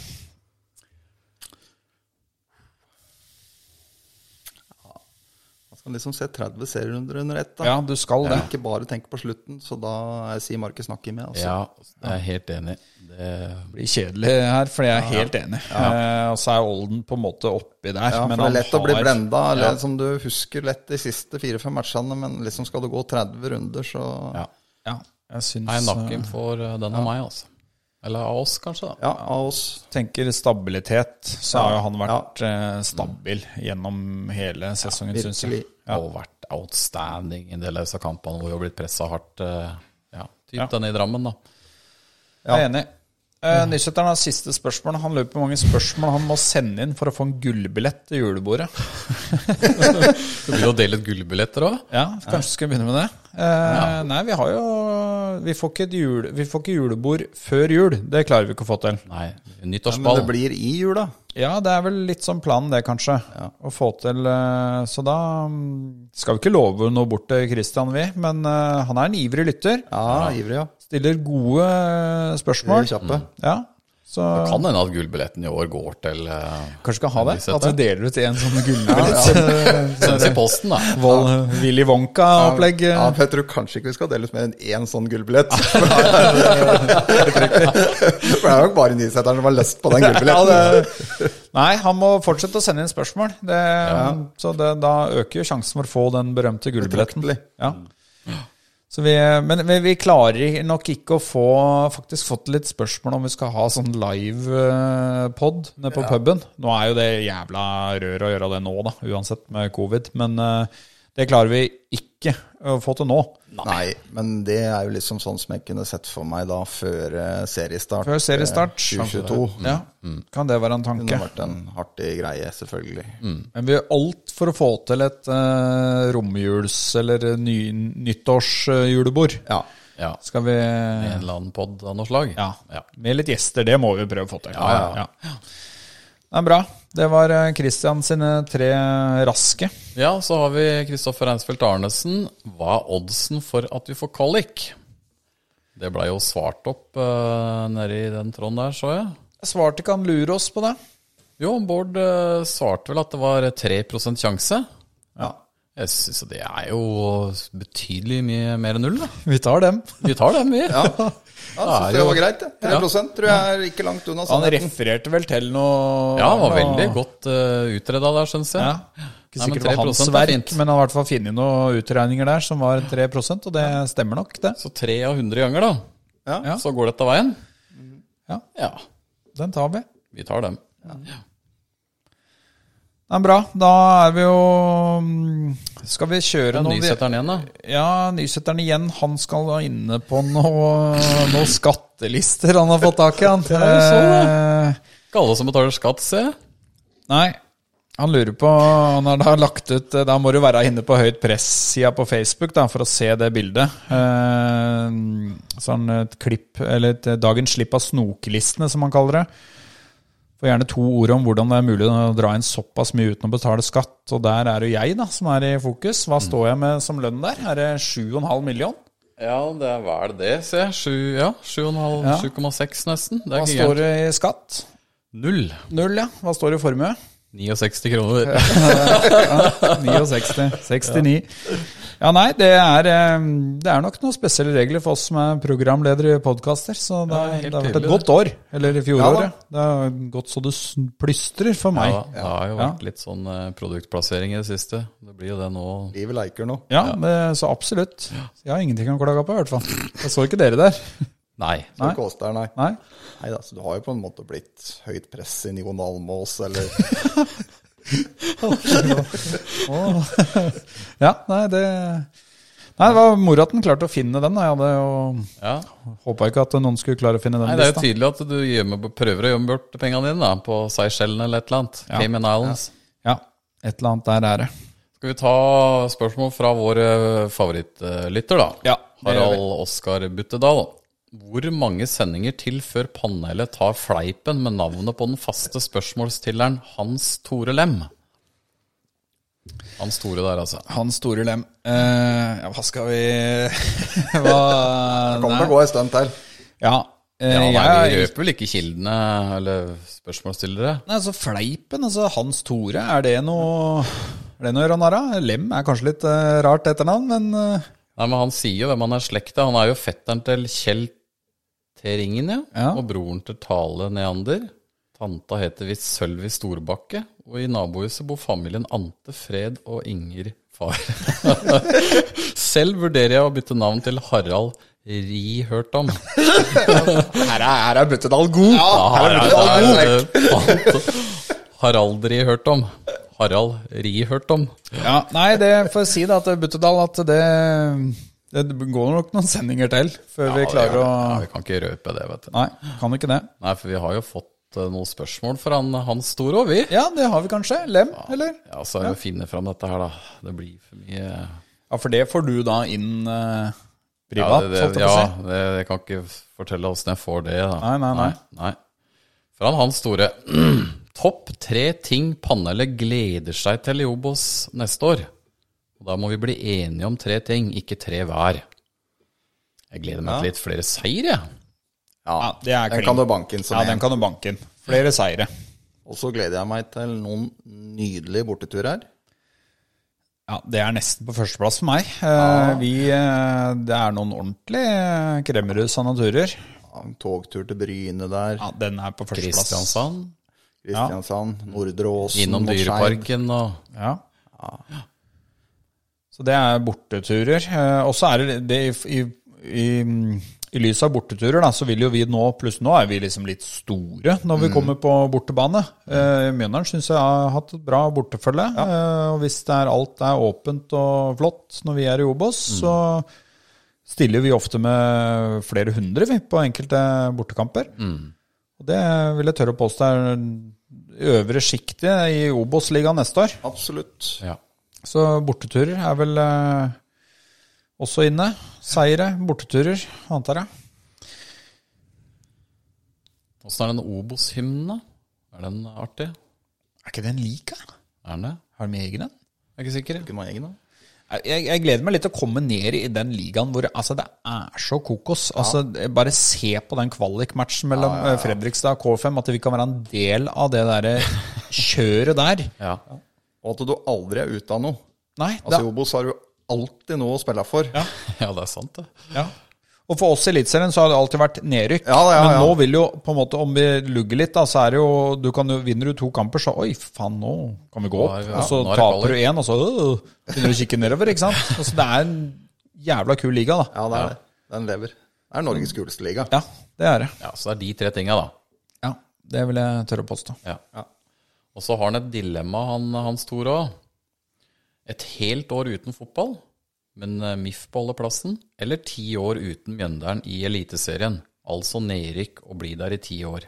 Man skal liksom se 30 serierunder under ett. da. Ja, du skal det. Ikke bare tenke på slutten, så da jeg sier Markus snakker med. Altså. ja, jeg er helt enig. Det, Det blir kjedelig her, for jeg er helt enig. Eh, og så er Olden på en måte oppi der. Ja, men for det han er lett å bli har- blenda, eller som du husker lett de siste fire-fem matchene, men liksom skal det gå 30 runder, så ja. Ja, jeg syns Nei, eh, nakken for eh, den av meg, altså. Eller av oss, kanskje. da. Ja, av oss. tenker stabilitet, så har jo han vært eh, stabil gjennom hele sesongen, synes syns jeg. virkelig. Ja. Og vært outstanding i en del av disse kampene hvor vi har blitt pressa hardt. eh, Ja, typ den i Drammen, da. Jeg er enig. Eh, Nysæteren har siste spørsmål. Han lurer på hvor mange spørsmål han må sende inn for å få en gullbillett til julebordet. Du begynner å dele ut gullbilletter òg? Ja, kanskje skal vi begynne med det. Eh, Nei, vi har jo vi får ikke, et jule, vi får ikke julebord før jul. Det klarer vi ikke å få til. Nei, Men nyttårsball. det blir i jula. Ja, det er vel litt sånn planen det, kanskje. Å få til eh, Så da mm, skal vi ikke love noe bort til Christian, vi. Men eh, han er en ivrig lytter. Ja, ivrig, ja. Stiller gode eh, spørsmål. Vi er kjappe. Ja, så Kan hende at gullbilletten i år går til uh, kanskje vi kan ha det? At vi deler ut en sånn gullbillett. sendes i posten, da. Vold- Willy Wonka-opplegg. Ja, for jeg tror kanskje ikke vi skal dele ut mer enn én sånn gullbillett. For det er nok bare nyseteren som har lyst på den gullbilletten. Nei, han må fortsette å sende inn spørsmål. Det, Så det, da øker jo sjansen for å få den berømte gullbilletten. Betraktelig. Ja. Så vi, men vi, vi klarer nok ikke å få faktisk fått litt spørsmål om vi skal ha sånn live-pod nede på puben. Nå er jo det jævla rør å gjøre det nå, da, uansett med covid. Men eh, det klarer vi ikke å få til nå. Nei, men det er jo liksom sånn som jeg kunne sett for meg da før eh, seriestart. Før seriestart. Sånn eh, 2022. Ja, kan det være en Kunne tanke? vært en artig greie, selvfølgelig. Men vi gjør alt for å få til et eh, romjuls- eller eh, ny, nyttårsjulebord. Ja. Ja. Skal vi En eller annen pod av noe slag. Ja. ja. Med litt gjester, det må vi prøve å få til. ja, ja. Ja. Det er bra. Det var eh, Christian sine tre raske. Ja, så har vi Kristoffer Reinsfeldt Arnesen. Hva er oddsen for at vi får kolik? Det blei jo svart opp uh, nedi den tråden der, så jeg. Svarte ikke han lure oss på det? Jo, Bård eh, svarte vel at det var 3 sjanse. Ja. Jeg synes det er jo betydelig mye mer enn null, da. Vi tar dem. Vi tar den, vi. Ja. Ja, jeg synes det var greit, det. 3 tror jeg er ikke langt unna Han sannheten. refererte vel til noe det var veldig godt uh, utreda der, syns jeg. Ja. Ikke Nei, men sikkert det var 3% hans er verk, fint. men han har i hvert fall funnet noen utregninger der som var 3 og det stemmer nok, det. Så 3 av 100 ganger, da. Ja. Så går dette veien. Ja. ja. Den tar vi. Vi tar dem. Det er bra. Da er vi jo mm, Skal vi kjøre noe vi- Nysetteren igjen, da. Ja, nysetteren igjen. Han skal da inne på noe, noen skattelister han har fått tak i, han. sånn, Eh, Ikke alle som betaler skatt, se. Nei. Han lurer på Han har da lagt ut eh, Da må du være inne på Høyt Press-sida på Facebook da, for å se det bildet. Eh, Sånn et klipp Eller et eh, dagens slipp av snokelistene, som han kaller det. Får gjerne to ord om hvordan det er mulig å dra inn såpass mye uten å betale skatt. Og der er jo jeg, da, som er i fokus. Mm. Hva står jeg med som lønn der? Er det 7,5 million? Ja, det er vel det, se. Sju- Ja, 7,5, Ja. 7,6 nesten. Det er Hva ikke står gærent. det i skatt? Null. Null, ja. Hva står det i formue? 69 kroner. 69. 69. Ja, nei, det er, eh, det er nok noen spesielle regler for oss som er programledere i podkaster, så det, Ja, er, helt det har vært et tydelig, godt år. Eller i Ja da. fjoråret. det har gått så det sn- plystrer for meg. Ja, det har jo vært litt sånn eh, produktplassering i det siste. Det blir jo det nå. Livet leker nå. Ja, det- så absolutt. Jeg har ingenting å klage på, i hvert fall. Jeg så ikke dere der. Nei. Så det koster, nei. Nei. Nei da, så du har jo på en måte blitt høyt press i Jon Almås, eller Ja, nei, det Nei, det var moro at den klarte å finne den. da. Jeg hadde jo Ja. håpa ikke at noen skulle klare å finne den. Nei, det er lista. jo tydelig at du gjemmer, prøver å gjemme bort pengene dine da, på Seychellene eller et eller annet. Cayman Islands. Ja, et eller annet der er det. Skal vi ta spørsmål fra vår eh, favorittlytter, da? Ja, det gjør vi. Harald Oskar Buttedal. Hvor mange sendinger til før panelet tar fleipen med navnet på den faste spørsmålsstilleren Hans Tore Lem? Hans Tore der, altså. Hans store lem. Eh, ja, hva skal vi Hva Kommer til å Nei. gå en stund til. Ja, eh, Ja, nei, jeg Vi røper vel ikke kildene eller spørsmålsstillere? Nei, altså Fleipen, altså Hans Tore, er det noe Er det noe å gjøre narr av? Lem er kanskje litt eh, rart etternavn, men eh, Nei, men Han sier jo hvem han er slekt av. Han er jo fetteren til Kjell T. Ringen, ja. Ja. Og broren til Tale Neander. Tanta heter visst Sølvi Storbakke. Og i nabohuset bor familien Ante, Fred og Inger Far. Selv vurderer jeg å bytte navn til Harald Ri Hørtom. Her er, her er Buttedal god! Ja, her er Buttedal god. Harald Ri Hørtom. Harald Ri Hørtom. ja, Nei, det får jeg si da til Buttedal at det det går nok noen sendinger til før vi klarer å Ja, vi kan ikke røpe det, vet du. Nei, kan ikke det. Nei, for vi har jo fått eh, noen spørsmål fra han, Hans Store òg, vi. Ja, det har vi kanskje. Lem, eller? Ja, så er det å finne fram dette her, da. Det blir for mye Ja, for det får du da inn eh, privat, ja, holdt det, jeg på å ja, si. det, jeg kan ikke fortelle åssen jeg får det. Da. Nei, nei, nei. nei. Fra Hans Store. Topp tre ting panelet gleder seg til i Obos neste år. Og da må vi bli enige om tre ting, ikke tre hver. Jeg gleder meg til litt flere seier, jeg. Ja, det er den klink. kan du banke inn som Ja, en. den kan du banke inn. Flere seire. Og så gleder jeg meg til noen nydelige borteturer. Ja, det er nesten på førsteplass for meg. Eh, Vi, eh, det er noen ordentlige eh, kremmerhus av naturer. Ja, en togtur til Bryne der, Ja, den er på førsteplass. Kristiansand. Kristiansand, Nordre Åsen Innom mot Skeid. Dyreparken og Ja. Så det er borteturer. Eh, Og så er det, det i, i, i, i lys av borteturer, da, så vil jo vi nå Pluss nå er vi liksom litt store når vi kommer på bortebane. Eh, Mjøndalen syns jeg har hatt et bra bortefølge. Eh, og hvis det er, alt er åpent og flott når vi er i Obos, så stiller vi ofte med flere hundre vi, på enkelte bortekamper. Og det vil jeg tørre å påstå er øvre sjiktet i Obos-ligaen neste år. Absolutt. ja. Så borteturer er vel eh, også inne. Seire, borteturer, antar jeg. Åssen er den Obos-hymnen, da? Er den artig? Er ikke den lik, da? Er den det? Har de egen en? Jeg er ikke sikker. Ikke noe egen, da. Jeg, jeg gleder meg litt til å komme ned i den ligaen hvor altså, det er så kokos. Altså, bare se på den kvalikmatchen mellom eh, Fredrikstad og K5, at vi kan være en del av det derre kjøret der. Ja. Og at du aldri er ute av noe. Nei, Altså, det- I Obos har du alltid noe å spille for. Ja, ja, det er sant, det. Ja. Og for oss i Eliteserien så har det alltid vært nedrykk. Ja, ja, ja. Men nå vil jo på en måte, om vi lugger litt, da, så er det jo du kan jo, Vinner du to kamper, så Oi, faen, nå kan vi gå opp. Nå er vi- ja, og så nå er det taper du kvalik. én, og så øh, begynner du å kikke nedover, ikke sant. Altså, det er en jævla kul liga, da. det er det. Den lever. Det er Norges kuleste liga. Ja, det er det. Ja, Så det er de tre tinga, da. Ja, Det vil jeg tørre å påstå. Ja. Og så har han et dilemma, han, Hans Tore òg. Et helt år uten fotball, men eh, MIF på holdeplassen, eller ti år uten Mjøndalen i Eliteserien. Altså nedrykk og bli der i ti år.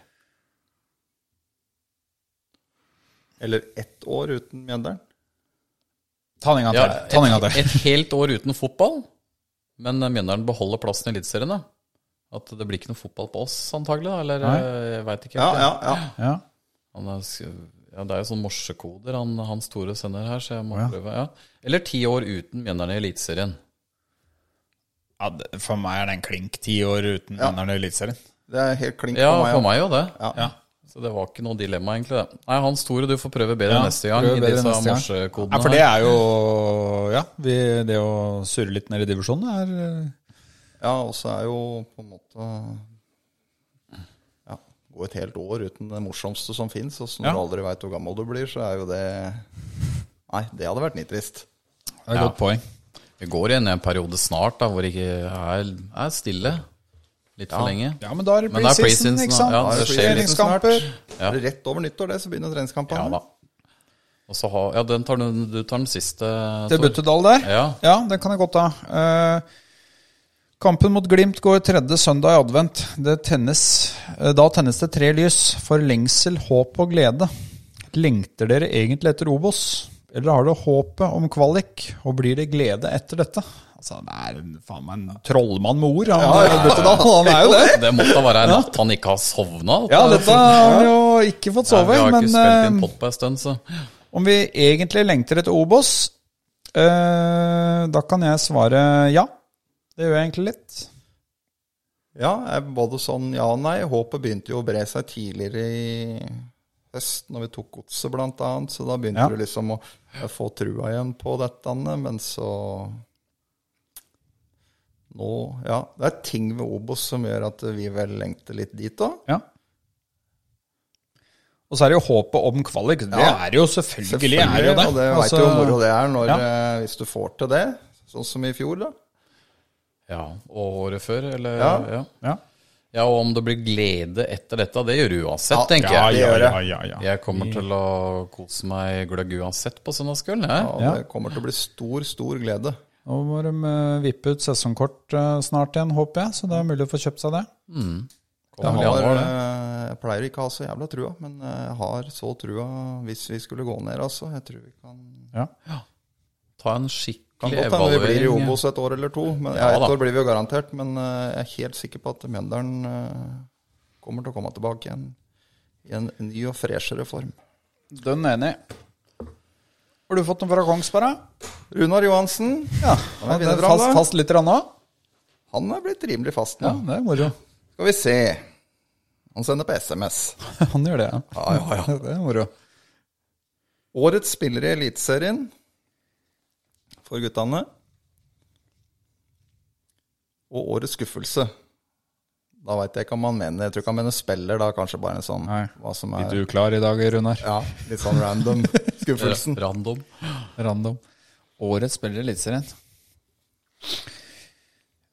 Eller ett år uten Mjøndalen. Ta den en gang Ja, til. Ta den en et, gang til. et helt år uten fotball, men eh, Mjøndalen beholder plassen i Eliteserien, da. At det blir ikke noe fotball på oss, antagelig, da. Eller eh, jeg veit ikke. Ja, helt. ja, ja. Ja. Han er, sk- ja, det er jo sånn morsekoder han, Hans Tore sender her, så jeg må prøve. Ja. Eller ti år uten Mjøndalen i Eliteserien. Ja, det- for meg er det en klink ti år uten vinneren i Eliteserien. Det er helt klink Ja, for meg. for meg jo det. Ja. Så det var ikke noe dilemma, egentlig. det. Nei, Hans Tore, du får prøve bedre neste gang prøv i bedre disse neste gang. morsekodene. Ja, for det er jo Ja, vi, det å surre litt ned i divisjonen er eh, Ja, og så er jo på en måte Ja, gå et helt år uten det morsomste som fins. Og så når Ja. du aldri veit hvor gammel du blir, så er jo det Nei, det hadde vært nitrist. det er et godt poeng. Vi går inn i en periode snart da, hvor det ikke er, er stille litt for lenge. Ja, men da er det Men da er preseason, preseason, ikke sant? ja, Da er det skjer litt treningskamper. Ja. Er det Rett over nyttår, det, så begynner Ja treningskampene. da. Og så har, ja, den tar du, du tar den siste. Til Tor. Buttedal der? Ja. den kan jeg godt ta. Eh, kampen mot Glimt går tredje søndag i advent. Det tennes, eh, da tennes det tre lys for lengsel, håp og glede. Lengter dere egentlig etter Obos? Eller har dere håpet om kvalik, og blir det glede etter dette? Altså, Det er en- faen meg en trollmann med ord, han Buttedal. Han er jo det. Det måtte da være en natt han ikke har sovna. Ja, dette har han jo ikke fått Ja, sove, Vi har ikke men spilt inn eh, pott på en stund, så Om vi egentlig lengter etter Obos, eh, da kan jeg svare ja. Det gjør jeg egentlig litt. Ja, jeg- både sånn ja og nei. Håpet begynte jo å bre seg tidligere i høst, når vi tok godset blant annet. Så da begynte Ja. du liksom å få trua igjen på dette, Anne, men så Nå, ja. Det er ting ved Obos som gjør at vi vel lengter litt dit òg. Ja. Og så er det jo håpet om kvalik. Det Ja. er det jo selvfølgelig. er det jo det. Og det veit Altså, du hvor moro det er når, ja. eh, hvis du får til det. Sånn som i fjor, da. ja. Og året før, eller ja. Ja. ja. Ja. og om det blir glede etter dette, det gjør du uansett, Ja, tenker Ja, jeg. ja, ja, gjør det. ja, ja. Jeg kommer til å kose meg gløgg uansett på søndagskvelden. Og jeg. Ja. det kommer til å bli stor, stor glede. Nå må de eh, vippe ut sesongkort eh, snart igjen, håper jeg. Så det er mulig å få kjøpt seg det. Kommer i Jeg, har, januar, det. eh, jeg pleier ikke å ha så jævla trua, men eh, jeg har så trua hvis vi skulle gå ned, altså. Jeg tror vi kan Ja. Ta en skikkelig Kan ordentlig godt hende vi blir i evaluering. Obos et år eller to. Men ja, Ja, Et da. år blir vi jo garantert, men eh, jeg er helt sikker på at Mjøndalen eh, kommer til å komme tilbake igjen i en ny og freshere form. Dønn enig. Har du fått den fra Kongsberg? da? Runar Johansen, Ja. men det er bra, fast, da. fast litt rann òg? han er blitt rimelig fast Ja, nå. det er moro. Skal vi se. Han sender på SMS. Han gjør det, ja. Ja, ja, ja. Det er moro. Årets spiller i Eliteserien for guttene. Og årets skuffelse. Da veit jeg ikke om han mener Jeg tror ikke han mener spiller, da kanskje bare en sånn Nei. hva som Litt er uklar i dag, Runar. Ja, litt sånn random skuffelsen. Random. Random. Årets spiller i Eliteserien.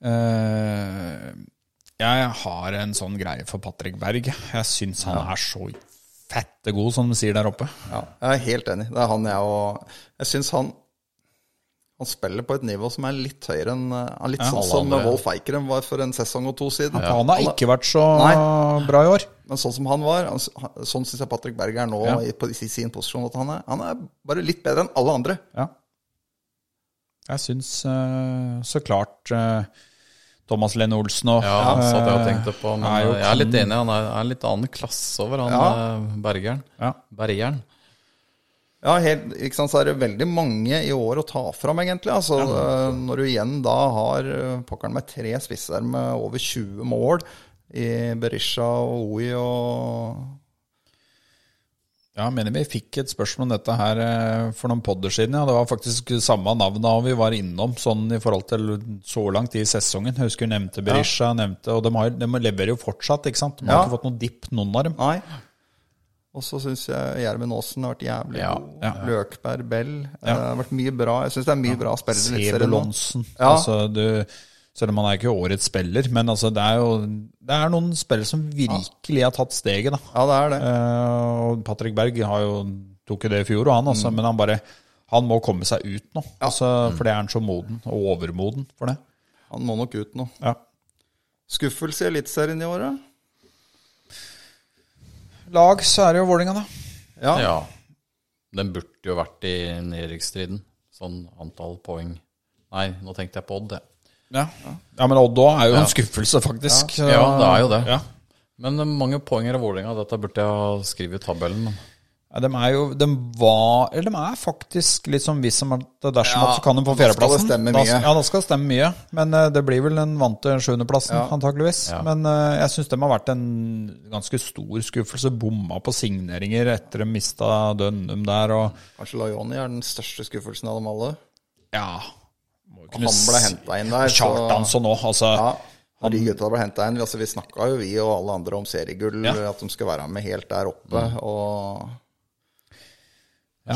Eh, jeg har en sånn greie for Patrick Berg. Jeg syns han er så fette god, som de sier der oppe. Ja, jeg er helt enig. Det er han jeg og Jeg syns han han spiller på et nivå som er litt høyere enn eh, Litt sånn alle som andre. Wolf Eikrem var for en sesong og to siden. Han har ikke vært så Nei. bra i år. Men sånn som han var, altså, han- sånn syns jeg Patrick Berg er nå Ja. i, på, i sin posisjon. At han er, han er bare litt bedre enn alle andre. Ja. Jeg syns eh, så klart eh, Thomas Lene Olsen og Ja, satt jeg og eh, tenkte på. Men er jo jeg er litt kan- enig, han er, er en litt annen klasse over han Ja. eh, Bergeren. Ja. Bergeren. Ja, helt, ikke sant, så er det veldig mange i år å ta fram, egentlig. Altså, eh, Når du igjen da har eh, pokkeren med tre spisser med over 20 mål i Berisha og Oi og Ja, jeg mener vi fikk et spørsmål om dette her eh, for noen podder siden. Ja. Det var faktisk samme navnet og vi var innom sånn i forhold til så langt i sesongen. Jeg husker du nevnte Berisha, nevnte, og de, har, de leverer jo fortsatt, ikke sant? De har Ja. ikke fått noen dipp, noen av dem. Nei. Og så syns jeg Gjermund Aasen har vært jævlig Ja, god. ja. Løkberg Bell. eh, Det har vært mye bra. Jeg syns det er mye bra spillere i Eliteserien nå. Sebulonsen. Ja. Altså, du, selv om han er ikke årets spiller, men altså, det er jo det er noen spillere som virkelig har tatt steget. da. Ja, det er det. Eh, og Patrick Berg har jo, tok jo det i fjor, og han også, Mm. men han bare han må komme seg ut nå, altså, for det er han så moden, og overmoden for det. Han må nok ut nå. Ja. Skuffelse i Eliteserien i året? Lag, så er det jo Vålinga, da. Ja. Ja. Den burde jo vært i nedrykksstriden. Sånn antall poeng Nei, nå tenkte jeg på Odd, jeg. Ja, men Odd òg er jo en skuffelse, faktisk. Ja. Ja, det er jo det. Ja. Men eh, mange poenger av Vålerenga. Dette burde jeg ha skrevet i tabellen. Men. Ja, de er jo De var Eller de er faktisk litt som hvis som at dersom Ja, at så kan de få da skal fjerdeplassen. det stemme Da- mye. Ja, da skal det stemme mye. Men eh, det blir vel den vante sjuendeplassen, antakeligvis. Men eh, jeg syns de har vært en ganske stor skuffelse. Bomma på signeringer etter de mista Dønnum der og Kanskje Lajoni er den største skuffelsen av dem alle. Ja. Må jo kunne Han ble si- henta inn der. så- Kjartansson òg, altså. Ja, når de gutta ble hentet inn. Altså, vi snakka jo, vi og alle andre, om seriegull. Ja. At de skal være med helt der oppe. Mm. Og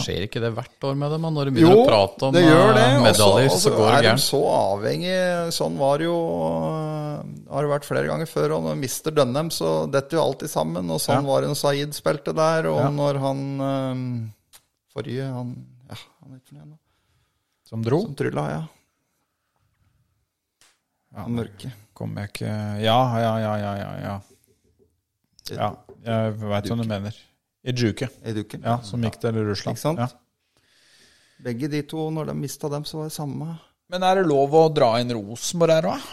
Skjer ikke det hvert år med dem? da, Når de begynner å prate om det gjør eh, det. og så- medaljer, og så går det altså, er de gærent. så avhengig. Sånn var det jo øh, Har det vært flere ganger før. Og når de mister Dønnem, så detter jo alltid sammen. Og sånn var det når Saeed spilte der, og når han øh, forrige han, ja, han er ikke fornøyd nå. Som dro. Som trylla, ja. Han mørke. Kommer jeg ikke Ja, ja, ja, ja, ja. ja. ja jeg veit hva du mener. Ijuke. I duken. Ja, som gikk til Russland. Ikke sant? Ja. Begge de to, når de mista dem, så var det samme. Men er det lov å dra inn Rosenborg her òg?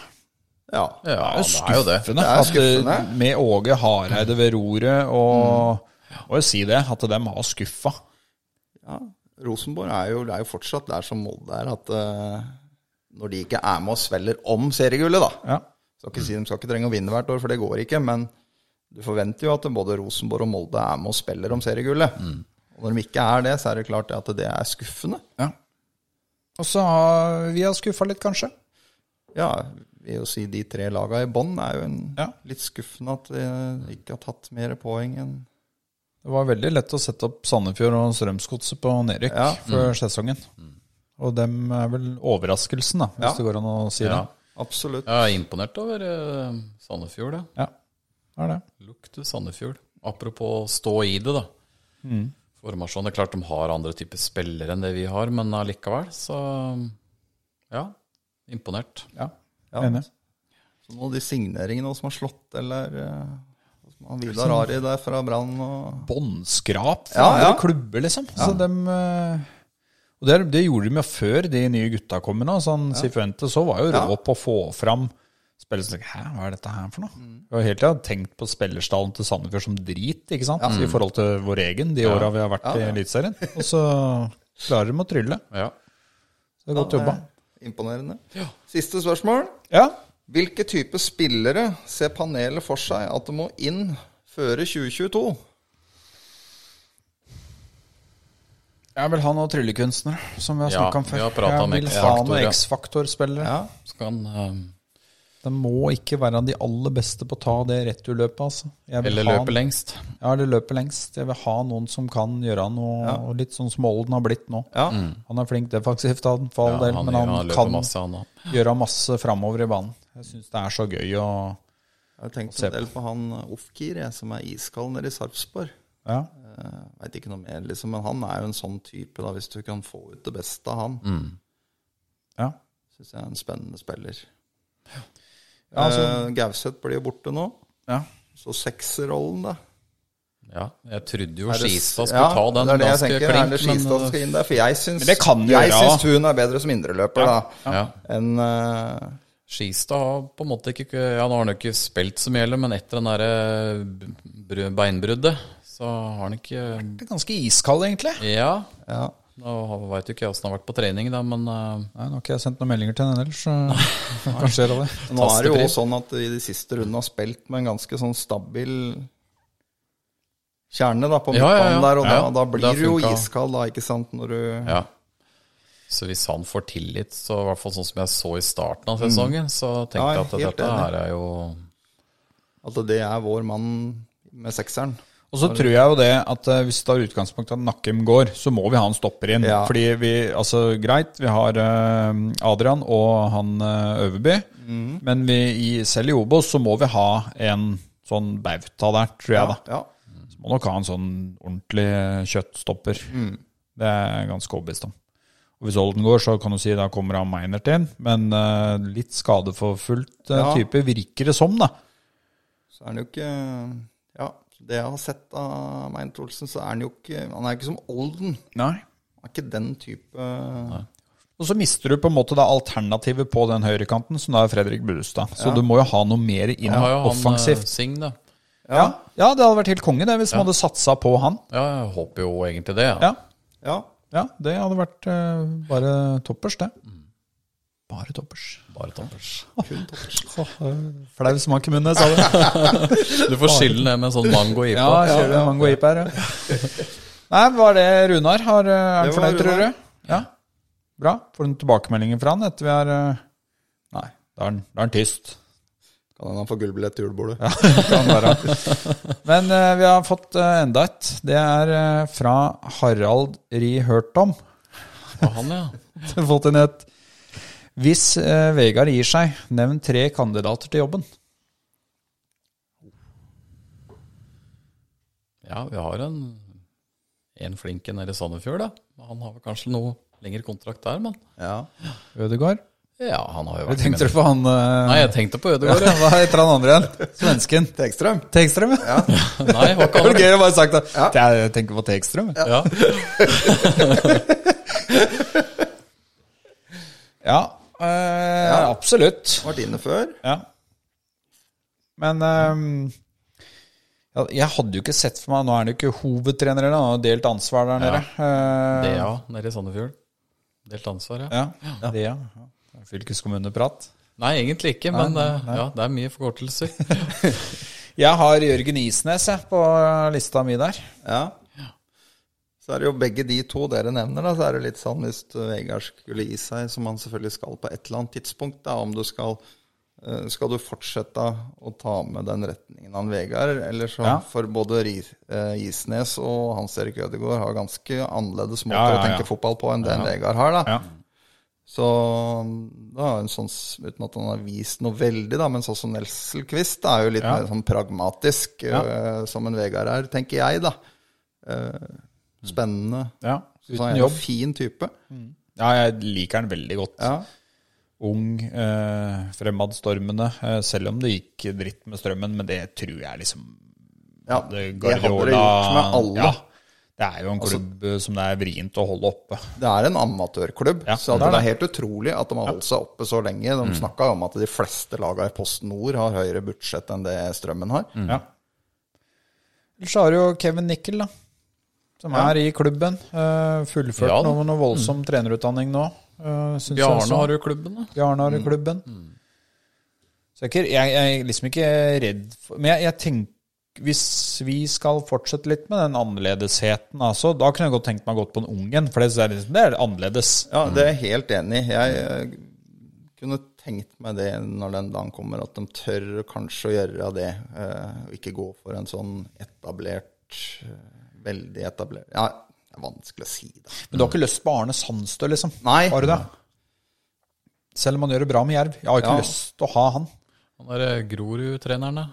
Ja. Ja, det er jo det. Skuffende. er skuffende. At, eh, med Åge Hareide ved roret og Mm. Må jo si det, at dem har skuffa. ja. Rosenborg er jo, det er jo fortsatt der som Molde er, at eh, når de ikke er med og svelger om seriegullet, da Ja. Skal ikke si De skal ikke trenge å vinne hvert år, for det går ikke. Men du forventer jo at både Rosenborg og Molde er med og spiller om seriegullet. Mm. Og når de ikke er det, så er det klart at det er skuffende. ja. Og så har vi har skuffa litt, kanskje. Ja, vil jo si de tre laga i bånn er jo en, Ja. litt skuffende at eh, de ikke har tatt mer poeng enn Det var veldig lett å sette opp Sandefjord og Strømsgodset på nedrykk Ja. før Mm. sesongen. Og dem er vel overraskelsen, da, hvis Ja. det går an å si Ja. Absolutt. Jeg er imponert over eh, Sandefjord, ja. det. Ja. Det Er det. Lukter Sandefjord. Apropos stå i det, da. Mm. Formasjon. Det er klart de har andre typer spillere enn det vi har, men allikevel, så Ja. Imponert. Ja. Ja. Enig. Så nå de signeringene og som har slått, eller eh, som har Vidar Ari der fra Brann og båndskrap fra Ja, ja. andre klubber, liksom. Så dem, eh, Og det, det gjorde de jo før de nye gutta kom med nå. Sånn Cifuentes så var jo rå på å få fram spillere som tenkte, Hæ, hva er dette her for noe? Mm. Jeg har hele tida tenkt på spillerstallen til Sandefjord som drit, ikke sant? I forhold til vår egen, de åra vi har vært i Eliteserien. Og så klarer de å trylle. Ja. Så det er godt jobba. Imponerende. Siste spørsmål. Ja. Hvilke type spillere ser panelet for seg at det må inn føre 2022? Jeg vil ha noen tryllekunstnere, som vi har Ja, snakka om før. vi har pratet om jeg vil ha X-faktor, noen ja. X-faktor-spillere. Så kan, eh, Det må ikke være de aller beste på å ta det returløpet, altså. Jeg vil eller ha- løpe lengst. Ja, eller løpe lengst. Jeg vil ha noen som kan gjøre noe, og litt sånn som Olden har blitt nå. Ja. Han er flink defensivt, han, for all Mm. Ja, del, han- men han, han løper kan masse, han også. gjøre masse framover i banen. Jeg syns det er så gøy å Jeg har tenkt Se en del på han Ofkir, jeg, som er iskald nede i Sarpsborg. Ja. Uh, Veit ikke noe mer, liksom, men han er jo en sånn type, da, hvis du kan få ut det beste av han. Mm. ja. Syns jeg er en spennende spiller. Ja, altså- Eh, Gauseth blir jo borte nå. ja. Så sekserrollen, da. Ja, jeg trodde jo Skistad skulle Ja, ta den det er det jeg ganske klink, tenker. er det men, eh, Skistad skal inn der? For jeg Men syns, det kan jo jeg gjøre, syns hun er bedre som indreløper, da. ja. Enn eh, Skistad har på en måte ikke Ja, nå har han jo ikke spilt så mye heller, men etter den derre br- beinbruddet, så har han ikke Det er ganske iskald, egentlig. Ja. ja. Nå veit jo ikke jeg åssen han har vært på trening, da, men eh, Nei, Nå har ikke jeg sendt noen meldinger til henne ellers, så kanskje skjer det. Nå er det jo Tastepris. også sånn at i de siste rundene har spilt med en ganske sånn stabil kjerne da, på Ja, ja, ja. midtbanen der, og Ja, da, ja. da Det har blir du jo funka. iskald da, ikke sant, når du ja. Så hvis han får tillit, så i hvert fall sånn som jeg så i starten av sesongen, så tenkte Ja, jeg at helt dette enig. her er jo At det er vår mann med sekseren. Og så tror jeg jo det at eh, hvis vi tar utgangspunkt i at Nakkim går, så må vi ha en stopper inn. Ja. Fordi vi, altså greit, vi har eh, Adrian og han eh, Øverby, Mhm. men vi, i, selv i Obos så må vi ha en sånn bauta der, tror jeg da. Ja. Så må nok ha en sånn ordentlig eh, kjøttstopper. Mm. Det er jeg ganske overbevist om. Og hvis Olden går, så kan du si da kommer han Meinert inn, men eh, litt skade for fullt eh, Ja. type virker det som, da. Så er han jo ikke Ja, det jeg har sett av Meint Olsen, så er han jo ikke Han er ikke som Olden. Nei. Han er ikke den type Og så mister du på en måte da alternativet på den høyrekanten, som da er Fredrik Burestad. Så du må jo ha noe mer inn Han har jo han eh, offensivt. Singh, da. Ja. ja, det hadde vært helt konge det, hvis man hadde satsa på han. Ja, jeg håper jo egentlig det. Ja, Ja. ja det hadde vært eh, bare toppers, det. Bare toppers. Bare toppers. Åh, Flau smak i munnen, jeg sa det. Du får skylden det med en sånn mango i på. Ja, kjører du mango hip her, ja. Nei, var det Runar? Har, eh, er Det han var fornøyd, tror Runar. du? Ja. Bra. Får du noen tilbakemeldinger fra han etter vi er eh, Nei, da er han- da er han tyst. Kan hende han får gullbillett til julebordet. kan være. Sånn Men eh, vi har fått eh, enda et. Det er eh, fra Harald Ri Hørtom. Ja, Han, ja. fått inn et Hvis eh, Vegard gir seg, nevn tre kandidater til jobben. Ja, vi har en, en flink en nede i Sandefjord, da. Han har vel kanskje noe lengre kontrakt der, men Ja. Ødegaard. Ja, han har jo Hva vært tenkte du på han eh, Nei, jeg tenkte på Ødegaard, ja. Hva heter han andre igjen? Svensken. Tekstrøm. Tegstrøm, ja. Nei, var ikke Det var han gøy å bare sagt det. Jeg tenker på Tegstrøm. Ja. ja. eh, absolutt. Vært inne før. Ja. Men ehm, ja, jeg hadde jo ikke sett for meg Nå er han jo ikke hovedtrener, eller, han har jo delt ansvar der nede. Eh, Det, ja. Nede i Sandefjord. Delt ansvar, ja. ja. Det, ja. ja. Fylkeskommuneprat. Nei, egentlig ikke, men eh, ja, det er mye forkortelser. Jeg har Jørgen Isnes jeg, på lista mi der. Ja. Så er det jo begge de to dere nevner, da. Så er det litt sånn hvis Vegard skulle gi seg, som han selvfølgelig skal på et eller annet tidspunkt, da, om du skal eh, skal du fortsette å ta med den retningen han Vegard? Eller så Ja. For både Ri- eh, Isnes og Hans Erik Ødegaard har ganske annerledes måter Ja, ja, å ja. tenke fotball på enn det Vegard har. da. Ja. Så da er jo en sånn, s- uten at han har vist noe veldig, da, men sånn som Nelselquist er jo litt mer sånn pragmatisk, øh, som en Vegard er, tenker jeg, da. Eh, spennende. Mm. Ja. Så han Uten sånn er jo en jobb. Mm. fin type. Ja, jeg liker han veldig godt. Ja. Ung, eh, fremadstormende. Eh, selv om det gikk dritt med strømmen, men det tror jeg liksom det ja. Det hadde det gjort med alle. Ja, Det er jo en klubb eh, som det er vrient å holde oppe. Det er en amatørklubb, Ja, så at det er det det. er helt utrolig at de har holdt seg oppe så lenge. De Mm. snakket snakka om at de fleste laga i Post Nord har høyere budsjett enn det Strømmen har. Mm. Ja. Ellers har du jo Kevin Nickel, da. Som er i klubben. Eh, fullført Ja da. noe med noe voldsom trenerutdanning nå. eh, synes jeg også. Bjarne har jo klubben, da. Bjarne har i klubben. Så jeg, er ikke- jeg, jeg er liksom ikke redd for Men jeg, jeg tenker Hvis vi skal fortsette litt med den annerledesheten, altså, da kunne jeg godt tenkt meg å gått på en ungen, for det er, liksom, det er annerledes. Ja, det Mm. er jeg helt enig i. Jeg eh, kunne tenkt meg det når den dagen kommer, at de tør kanskje å gjøre det. eh, Og ikke gå for en sånn etablert eh, Veldig etablert Ja, det er vanskelig å si, da. Men du har ikke lyst på Arne Sandstø, liksom? Nei. Har du det? Selv om han gjør det bra med Jerv. Jeg har ikke Ja. lyst til å ha han. Han er eh, Grorud-treneren, da.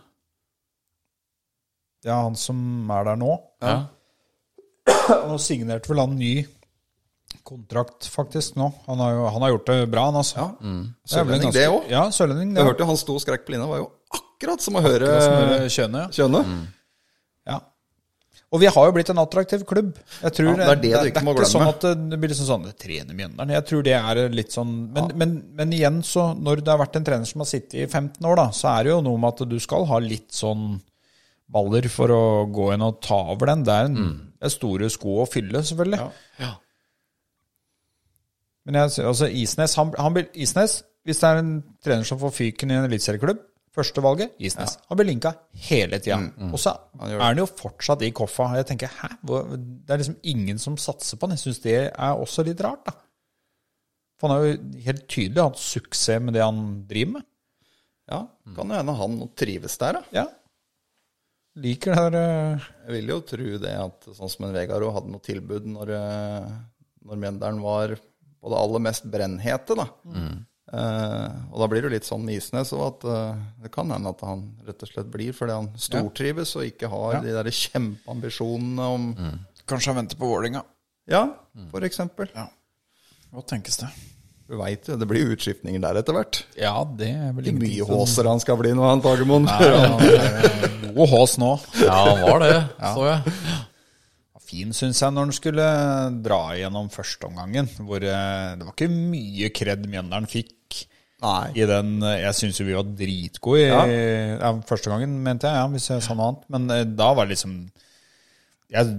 Det er han som er der nå. Ja. Og signerte vel han ny kontrakt, faktisk, nå. Han har, jo, han har gjort det bra, han, altså. Det er vel en Sørlending, det ganske- også. Ja, Sørlending. Det Jeg er hørte jo han sto og skrek på linja. Var jo akkurat som å høre akkurat som Mm. med Kjøne. Eh, ja. Kjønne. Ja. Og vi har jo blitt en attraktiv klubb. Jeg tror Ja, det er det du ikke må Det er glemme. ikke sånn at det- det blir liksom sånn det trener Mjøndalen. Jeg tror det er litt sånn men, men, men igjen, så når det har vært en trener som har sittet i 15 år, da, så er det jo noe med at du skal ha litt sånn baller for å gå inn og ta over den. Det er, en, Mm. det er store sko å fylle, selvfølgelig. Men jeg, sy- altså Isnes, han, han blir, Isnes, hvis det er en trener som får fyken i en eliteserieklubb, førstevalget Isnes. Han blir linka hele tida. Og så er Mm, han jo fortsatt i koffa. Jeg tenker, hæ? Hvor, det er liksom ingen som satser på han. Jeg syns det er også litt rart, da. For han har jo helt tydelig hatt suksess med det han driver med. Ja, kan jo hende han trives der, da. Ja. Liker det der eh, Jeg vil jo tro det at sånn som en Vegard også hadde noe tilbud når, eh, når Mjøndalen var på det aller mest brennhete, da. Mm. Eh, og da blir det jo litt sånn med Isnes òg, at eh, det kan hende at han rett og slett blir fordi han stortrives og ikke har de der kjempeambisjonene om Mm. Kanskje han venter på Vålinga. Ja, Mm. for eksempel. Hva tenkes det? Du veit jo, det blir utskiftninger der etter hvert. Ja, det sånn. er vel Ikke mye som- håser han skal bli nå, han Fagermoen. God hås nå. ja, han var det, så jeg. Fin, syns jeg, når han skulle dra igjennom førsteomgangen. Hvor eh, det var ikke mye kred Mjøndalen fikk Nei. i den eh, Jeg syns jo vi var dritgode i ja. første gangen, mente jeg, ja, hvis jeg sa noe annet. Men eh, da var det liksom Jeg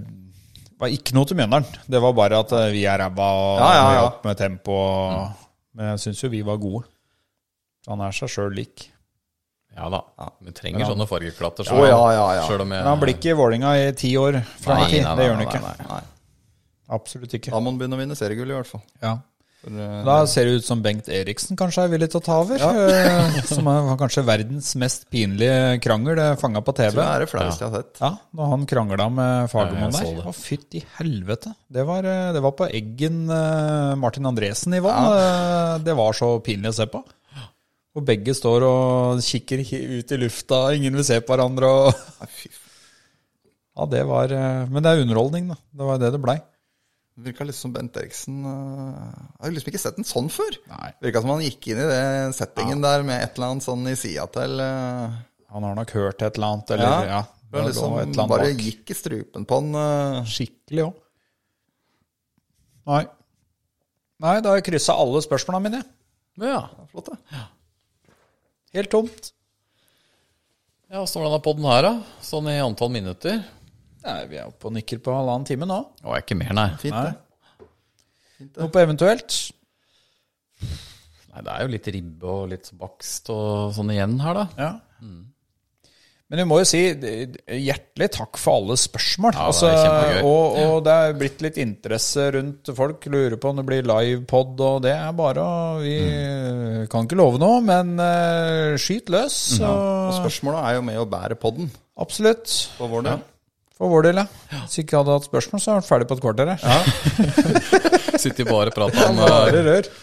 var ikke noe til Mjøndalen. Det var bare at eh, vi er ræva og Ja, ja, Mm. ja. må opp med tempo. og- Men jeg syns jo vi var gode. Han er seg sjøl lik. Ja da. Vi trenger sånne fargeklatter. Å, ja, ja, ja. Selv om Men jeg han blir ikke i Vålinga i ti år fram i Nei, tid. nei, Det gjør nei, han ikke. Nei, nei. Absolutt ikke. Da må han begynne å vinne seriegull, i hvert fall. Ja. For, eh, Da ser det ut som Bengt Eriksen kanskje er villig til å ta over. eh, Som er, var kanskje verdens mest pinlige krangel fanga på TV. det er det flaueste jeg har sett. Ja, Når han krangla med Fagermoen Ja, jeg der. så det. Å, fytti helvete. Det var, eh, det var på Eggen eh, Martin Andresen-nivå. Eh, Det var så pinlig å se på. Og begge står og kikker hi- ut i lufta, ingen vil se på hverandre og Nei, fy faen. Ja, det var eh, Men det er underholdning, da. Det var det det blei. Det virka litt som Bent Eriksen øh, Jeg har liksom ikke sett den sånn før. Nei. Virka som han gikk inn i det settingen der med et eller annet sånn i sida til øh, Han har nok hørt et eller annet, eller ja. det var liksom et eller annet Bare bak. gikk i strupen på han. øh. Skikkelig òg. Nei. Nei, da har jeg kryssa alle spørsmåla mine. Ja. Flott, det. Helt tomt. ja, Står den av podden her, da? Sånn i antall minutter? Nei, Vi er oppe og nikker på halvannen time nå. Å, ikke mer, nei. Fint, Nei. det. Noe på eventuelt? Nei, Det er jo litt ribbe og litt bakst og sånn igjen her, da. Ja. Men vi må jo si eh, hjertelig takk for alle spørsmål. Altså, Ja, det er kjempegøy. og, og det er blitt litt interesse rundt folk. Lurer på om det blir livepod, og det er bare å Vi Mm. kan ikke love noe, men eh, skyt løs. Og Og, spørsmåla er jo med og bærer podden absolutt. for vår del. For vår del, ja. Hvis ikke jeg hadde hatt spørsmål, så er vi ferdig på et kvarter. her. Sitter bare og prater om Bare eh, rør.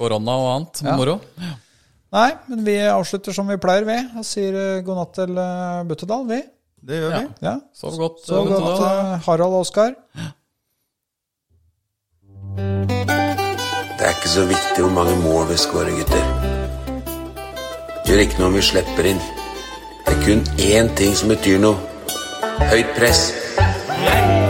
korona og annet. Moro. Nei, men vi avslutter som vi pleier, vi. Og sier eh, god natt til eh, Buttedal, vi. Det gjør vi. Ja. Sov godt. Så vet du god natt, da. eh, Harald og Oskar. Det er ikke så viktig hvor mange mål vi skårer, gutter. Gjør ikke noe om vi slipper inn. Det er kun én ting som betyr noe. Høyt press. Legg